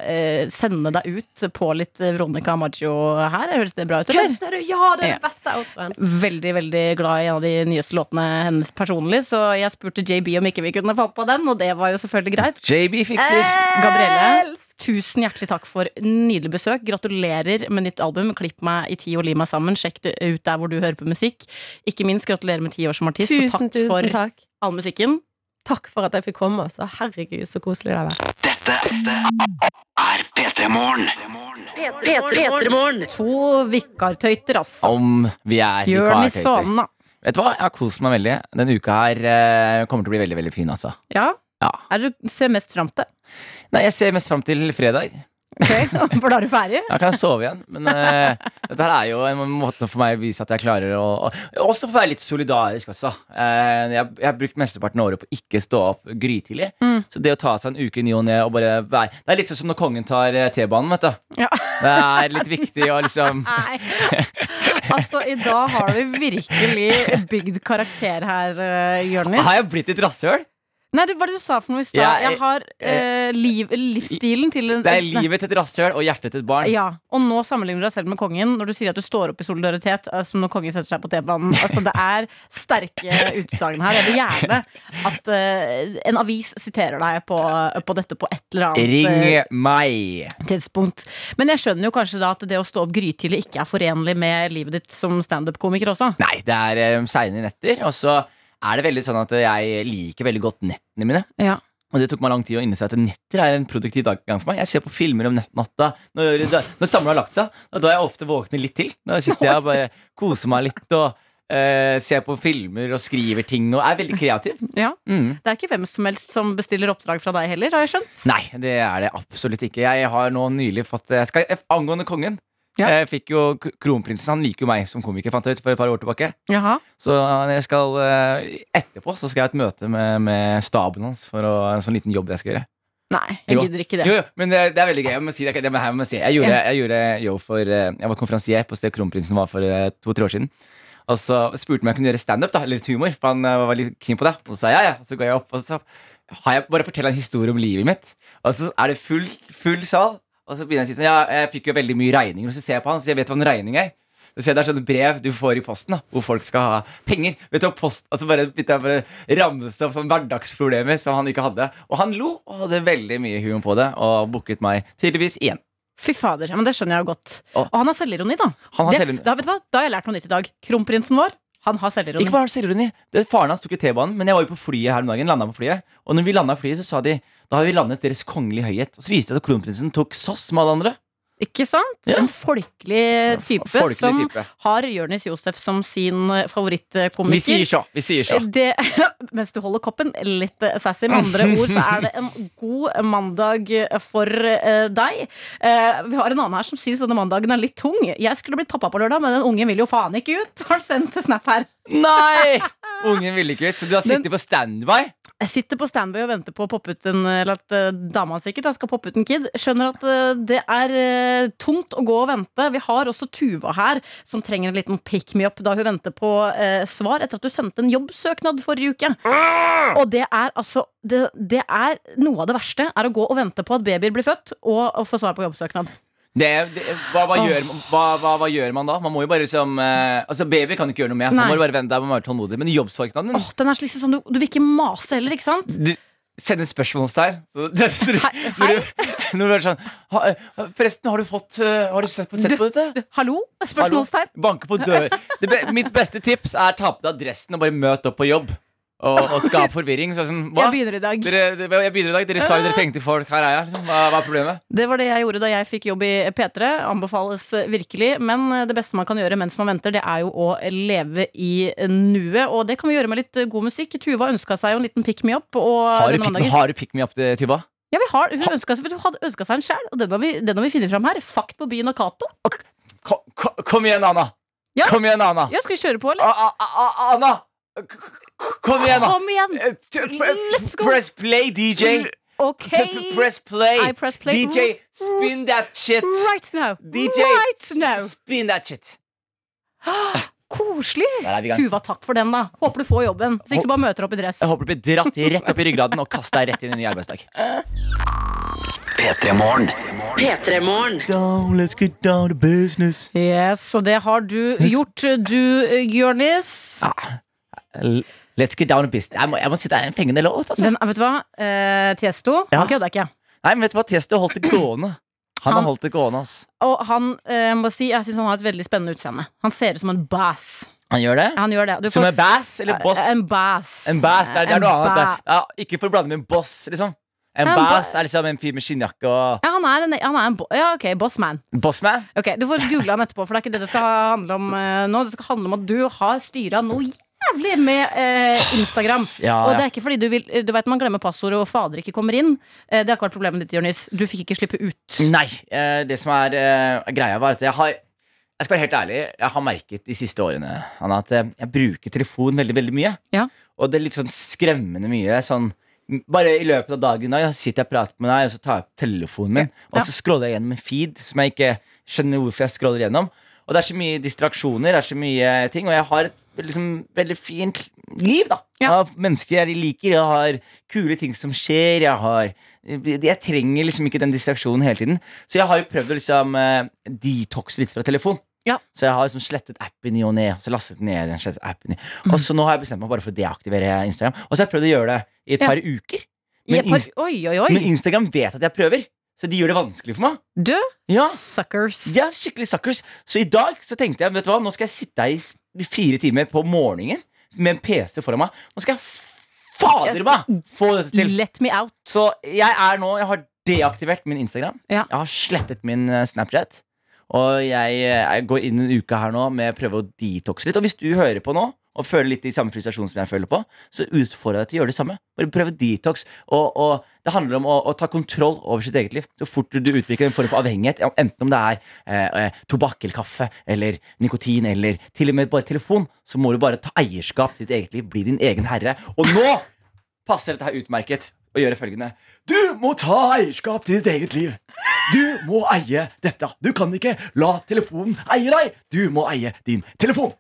eh, sende deg ut på litt eh, Veronica Maggio her. Høres det bra ut, eller?
Kødder du? Ja, det
Ja.
er den beste outroen.
Veldig veldig glad i en av de nyeste låtene hennes personlig, så jeg spurte JB om ikke vi kunne få på den, og det var jo selvfølgelig greit.
JB fikser.
Eh.
Gabrielle, tusen hjertelig takk for nydelig besøk. Gratulerer med nytt album. Klipp meg i ti og lim meg sammen. Sjekk det ut der hvor du hører på musikk. Ikke minst gratulerer med ti år som artist, og takk
Tusen, tusen
for
takk.
all musikken.
Takk for at jeg fikk komme. Altså. Herregud, så koselig det har vært.
To vikartøyter, ass.
Om vi er
Jonis
vikartøyter.
Sonen, da.
Vet du hva, jeg har kost meg veldig. Denne uka her eh, kommer til å bli veldig veldig fin. altså
Ja?
Ja.
Er det du ser mest fram til?
Nei, Jeg ser mest fram til fredag.
[LAUGHS] For da er du ferdig?
Da kan jeg sove igjen. Men eh, dette her er jo en måte for meg å vise at jeg klarer å og Også for å være litt solidarisk også. Eh, jeg, jeg har brukt mesteparten av året på ikke stå opp grytidlig. Så det å ta seg en uke i ny og ne og bare være Det er litt sånn som når kongen tar eh, T-banen, vet du.
Ja.
Det er litt viktig å liksom [LAUGHS]
Nei. Altså, i dag har du virkelig bygd karakter her, uh, Jonis.
Har jeg blitt et rasshøl?
Nei, det var det du sa for noe i stad.
Ja,
Jeg
eh,
har eh, liv, livsstilen til en
Det er livet til et rasshøl og hjertet til et barn.
Ja, Og nå sammenligner du deg selv med kongen når du sier at du står opp i solidaritet eh, som når kongen setter seg på T-banen. Altså, det er sterke utsagn her. Jeg vil gjerne at eh, en avis siterer deg på, på dette på et eller annet
Ring
eh,
meg.
tidspunkt. Men jeg skjønner jo kanskje da at det å stå opp grytidlig ikke er forenlig med livet ditt som standup-komiker også.
Nei, det er um, seine eh, netter, og så er det veldig sånn at jeg liker veldig godt nettene mine.
Ja.
Og det tok meg lang tid å innse at netter er en produktiv dag gang for meg. Jeg ser på filmer om nett- natta når, når samla har lagt seg. og Da er jeg ofte våkne litt til. Da sitter jeg og bare koser meg litt og eh, ser på filmer og skriver ting og er veldig kreativ.
Ja.
Mm.
Det er ikke hvem som helst som bestiller oppdrag fra deg heller, har jeg skjønt.
Nei, det er det absolutt ikke. Jeg har nå nylig fått jeg skal, Angående kongen.
Ja.
Jeg fikk jo k- Kronprinsen han liker jo meg som komiker, fant jeg ut for et par år tilbake.
Jaha.
Så jeg skal, eh, etterpå så skal jeg ha et møte med, med staben hans for å, en sånn liten jobb jeg skal gjøre.
Nei, jeg
Jo.
gidder ikke det.
Jo, jo, men det, det er veldig gøy. Jeg må si det, det må- her må jeg si. Jeg gjorde,
Ja.
jeg gjorde jobb for eh, Jeg var konferansier på stedet Kronprinsen var for eh, to-tre år siden. Og så spurte han om jeg kunne gjøre standup, da, litt humor. For han eh, var litt keen på det. Og så sa jeg ja, ja. Så ga jeg opp. Og så har jeg bare fortell en historie om livet mitt. Og så er det full, full sal. Og så begynner jeg å si sånn Ja, jeg fikk jo veldig mye regninger. Og så ser jeg på han, så jeg vet hva en regning er. Så ser jeg Det er sånne brev du får i posten da, hvor folk skal ha penger. Vet du hva post, altså bare begynte jeg bare ramse opp sånne hverdagsproblemer som han ikke hadde. Og han lo og hadde veldig mye humor på det, og booket meg tydeligvis igjen.
Fy fader, ja, men det skjønner jeg jo godt.
Å.
Og han har selvironi, da.
Han har
det,
selvironi.
da, vet du hva? da har jeg lært noe nytt i dag. Kronprinsen vår, han har selvironi.
Ikke bare selvironi. Det- Faren hans tok jo T-banen, men jeg var jo på flyet her om dagen. landet på flyet Og når vi landa flyet, så sa de da har vi landet Deres kongelige høyhet. Og så viste det seg at kronprinsen tok SAS med alle andre.
Ikke sant?
Ja.
En folkelig type
Folkelig
som
type.
har Jonis Josef som sin eh,
Vi sier
favorittkomiker.
så. Vi
[LAUGHS]
sier så.
Det, mens du holder koppen litt eh, sassy. Med andre ord så er det en god mandag for eh, deg. Eh, vi har en annen her som syns denne mandagen er litt tung. Jeg skulle blitt pappa på lørdag, men den ungen vil jo faen ikke ut. Har sendt en snap her.
Nei! Ungen ville ikke ut, så du har sittet på standby?
Jeg sitter på standby og venter på å poppe ut en Eller at eh, dama sikkert da, skal poppe ut en kid. Skjønner at eh, det er eh, tungt å gå og vente. Vi har også Tuva her, som trenger en liten pick me up da hun venter på eh, svar etter at du sendte en jobbsøknad forrige uke.
Ah!
Og det er altså det, det er Noe av det verste er å gå og vente på at babyer blir født, og, og få svar på jobbsøknad.
Det, det, hva, hva, gjør, man- hva, hva, hva gjør man da? Man må jo bare liksom eh, Altså Baby kan du ikke gjøre noe med. Man
Nei.
må bare vende deg, man må være tålmodig. Men jobbsøknaden din
Åh, den er liksom sånn, du, du vil ikke mase heller, ikke sant?
du, Send en spørsmålstegn. Så- [LAUGHS] Når
Hei,
du-
hei.
når du er sånn ha, eh, Forresten, har du fått eh, Har du sett på, sett på dette?
Du, hallo? Spørsmålstegn.
Hallo? Banke på
[LAUGHS]
dør. Det be, mitt beste tips er ta på deg dressen og bare møt opp på jobb. Og, og skap forvirring. Så er det sånn, hva?
Jeg begynner i dag.
Dere, dere- jeg begynner i dag. Dere sa jo dere trengte folk. Her er jeg. Liksom. Hva, hva er problemet?
Det var det jeg gjorde da jeg fikk jobb i P3. Anbefales virkelig. Men eh, det beste man kan gjøre mens man venter, det er jo å leve i nuet. Og det kan vi gjøre med litt eh, god musikk. Tuva ønska seg jo en liten pick me up. Og
Har du,
denne
pick-
mandagen-
har du pick me up, eh, Tuba?
Ja, vi har, hun ønska seg, hun hadde ønsket seg en sjæl, og den har, vi, den har vi funnet fram her. Fakt på byen og Cato.
Kom, kom, kom igjen, Anna.
Ja.
Kom igjen, Anna.
Ja, skal vi kjøre på, eller?
A- a- a- Anna! K- k- Kom igjen, da!
Kom igjen!
Eh, t-
Let's go.
Press play, DJ.
OK.
P- p- Press play.
I press play.
DJ, spin that shit.
Right now.
DJ,
Right now.
s- spin that shit.
Koselig!
Der er vi i gang.
Tuva, takk for den, da. Håper du får jobben. Hvis ikke, så bare møter opp i dress.
Jeg håper du blir dratt rett opp i ryggraden og kasta rett inn i en ny arbeidsdag.
P3-morgen.
Down, let's get down to business.
Yes, og det har du gjort, du, Jonis.
L- Let's get down to business. Jeg må, jeg må si det er en fengende låt, altså.
Den, vet du hva? Eh, Tiesto,
Ja.
han kødda ikke.
Nei, men vet du hva? Tiesto holdt det gående. Han har
Han-
holdt det gående, ass.
Og han eh, må si, jeg syns han har et veldig spennende utseende. Han ser ut som en bass.
Han gjør det?
Han gjør det. Du
Som
får-
en bass eller boss?
En bass.
En bass, det er, det er noe
En
annet.
ba-
det. Ja, ikke for å blande med en boss, liksom. En,
En
bass
ba-
er liksom en fyr med skinnjakke og
Ja, han er en, han er en bo ja, ok, bossman.
Bossman?
Ok, Du får google han etterpå, for det er ikke det det skal handle om eh, nå. Det skal handle om at du har styra noe jævlig med eh, Instagram.
Ja,
Og det
ja.
er ikke fordi du vil Du vet man glemmer passordet og fader ikke kommer inn. Eh, det har ikke vært problemet ditt, Jonis. Du fikk ikke slippe ut.
Nei. eh, Det som er eh, greia, var at jeg har Jeg skal være helt ærlig, jeg har merket de siste årene Anna, at eh, jeg bruker telefon veldig, veldig mye.
Ja.
Og det er litt sånn skremmende mye. Sånn bare i løpet av dagen da, jeg sitter jeg og prater med deg, og så tar jeg opp telefonen min.
Ja.
Og så scroller jeg gjennom en feed som jeg ikke skjønner hvorfor jeg scroller gjennom. Og det er så mye distraksjoner, det er så mye ting, og jeg har et liksom, veldig fint liv da,
Ja.
av mennesker jeg liker. Jeg har kule ting som skjer, jeg har jeg trenger liksom ikke den distraksjonen hele tiden. Så jeg har jo prøvd å liksom eh, detoxe litt fra telefon.
Ja.
Så jeg har liksom slettet appen i og ned. Og så lastet den ned den slettet appen i. Og
Mhm.
så nå har jeg bestemt meg bare for å deaktivere Instagram. Og så har jeg prøvd å gjøre det i et
Ja.
par uker.
I
Men,
et par,
Inst-
oi, oi, oi.
men Instagram vet at jeg prøver, så de gjør det vanskelig for meg.
Du,
Ja,
suckers.
de er skikkelig suckers. Så i dag så tenkte jeg vet du hva, nå skal jeg sitte her i s- fire timer på morgenen. med en PC foran meg. Nå skal jeg fader meg få dette til!
Let me out.
Så jeg er nå Jeg har deaktivert min Instagram.
Ja.
Jeg har slettet min eh, Snapchat. Og jeg, eh, jeg går inn en uke her nå med å prøve å detoxe litt. Og hvis du hører på nå og føler litt i samme frustrasjon som jeg føler på, så utfordrer jeg deg til å gjøre det samme. Bare prøve detox. Og, og det handler om å, å ta kontroll over sitt eget liv. Så fort du utvikler en form for avhengighet, ja, enten om det er eh, eh, tobakk eller kaffe eller nikotin eller til og med bare telefon, så må du bare ta eierskap til ditt eget liv. Bli din egen herre. Og nå passer dette her utmerket å gjøre følgende. Du må ta eierskap til ditt eget liv. Du må eie dette. Du kan ikke la telefonen eie deg. Du må eie din telefon.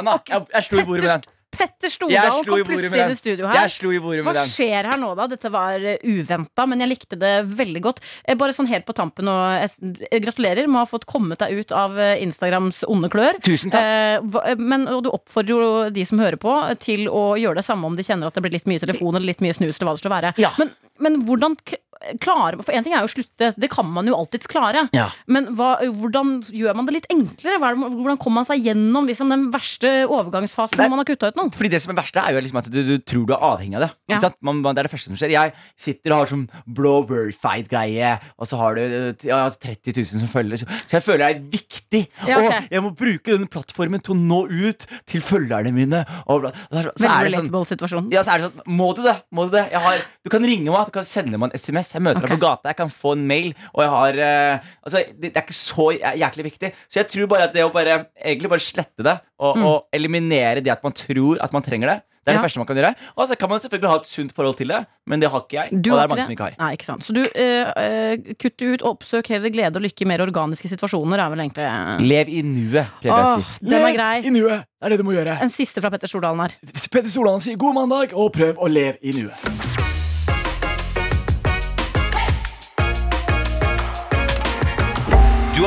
Anna, jeg, jeg slo i bordet med den.
Petter
Jeg
Stordalen
slo
kom
i bordet
plutselig
med
inn i
den.
studio her.
Jeg slo i bordet
Hva
med den.
skjer her nå, da? Dette var uventa, men jeg likte det veldig godt. Eh, Bare sånn helt på tampen og jeg- jeg Gratulerer med å ha fått kommet deg ut av eh, Instagrams onde klør.
Tusen takk.
Eh, hva- Men, og du oppfordrer jo de som hører på, eh, til å gjøre det samme om de kjenner at det blir litt mye telefon eller litt mye snus. Eller hva det skal være
Ja.
men, men hvordan k- eh, klarer man For én ting er jo å slutte, det kan man jo alltids klare.
Ja.
Men hva, hvordan gjør man det litt enklere? Hva er det, hvordan kommer man seg gjennom liksom, den verste overgangsfasen
Nei.
når man har kutta ut noen?
Fordi det som er verste, er jo liksom at du, du tror du er avhengig av det.
Ja.
Ikke sant? Man, man, det er det første som skjer. Jeg sitter og har sånn blowbird-fight-greie, og så har du eh, t- ja, 30 000 som følger. Så, så jeg føler jeg er viktig.
Ja, ok.
Og jeg må bruke denne plattformen til å nå ut til følgerne mine. Og bla, så, så
Veldig
er det sånn
relatable situasjon.
ja, så er det sånn, Må du det? Må du det? Jeg har, du kan ringe meg, du kan sende meg en SMS. Jeg møter
Ok.
deg på gata, jeg kan få en mail. Og jeg har eh, Altså, det, det er ikke så jæ- jæklig viktig. Så jeg tror bare at det å bare egentlig bare slette det, og, og eliminere det at man tror at man trenger det, det
Mm. Ja.
er det første man kan gjøre. Og så kan man selvfølgelig ha et sunt forhold til det, men det har ikke jeg.
Du
og det
har
er mange som ikke har.
Nei, ikke sant. Så du eh, eh, kutt ut, oppsøk heller glede og lykke i mer organiske situasjoner, er vel egentlig
Lev i nuet, prøver jeg å
Åh,
si.
den er grei.
i nuet. Det er det du må gjøre.
En siste fra Petter Stordalen her.
Petter Solan sier god mandag, og prøv å leve i nuet.
Du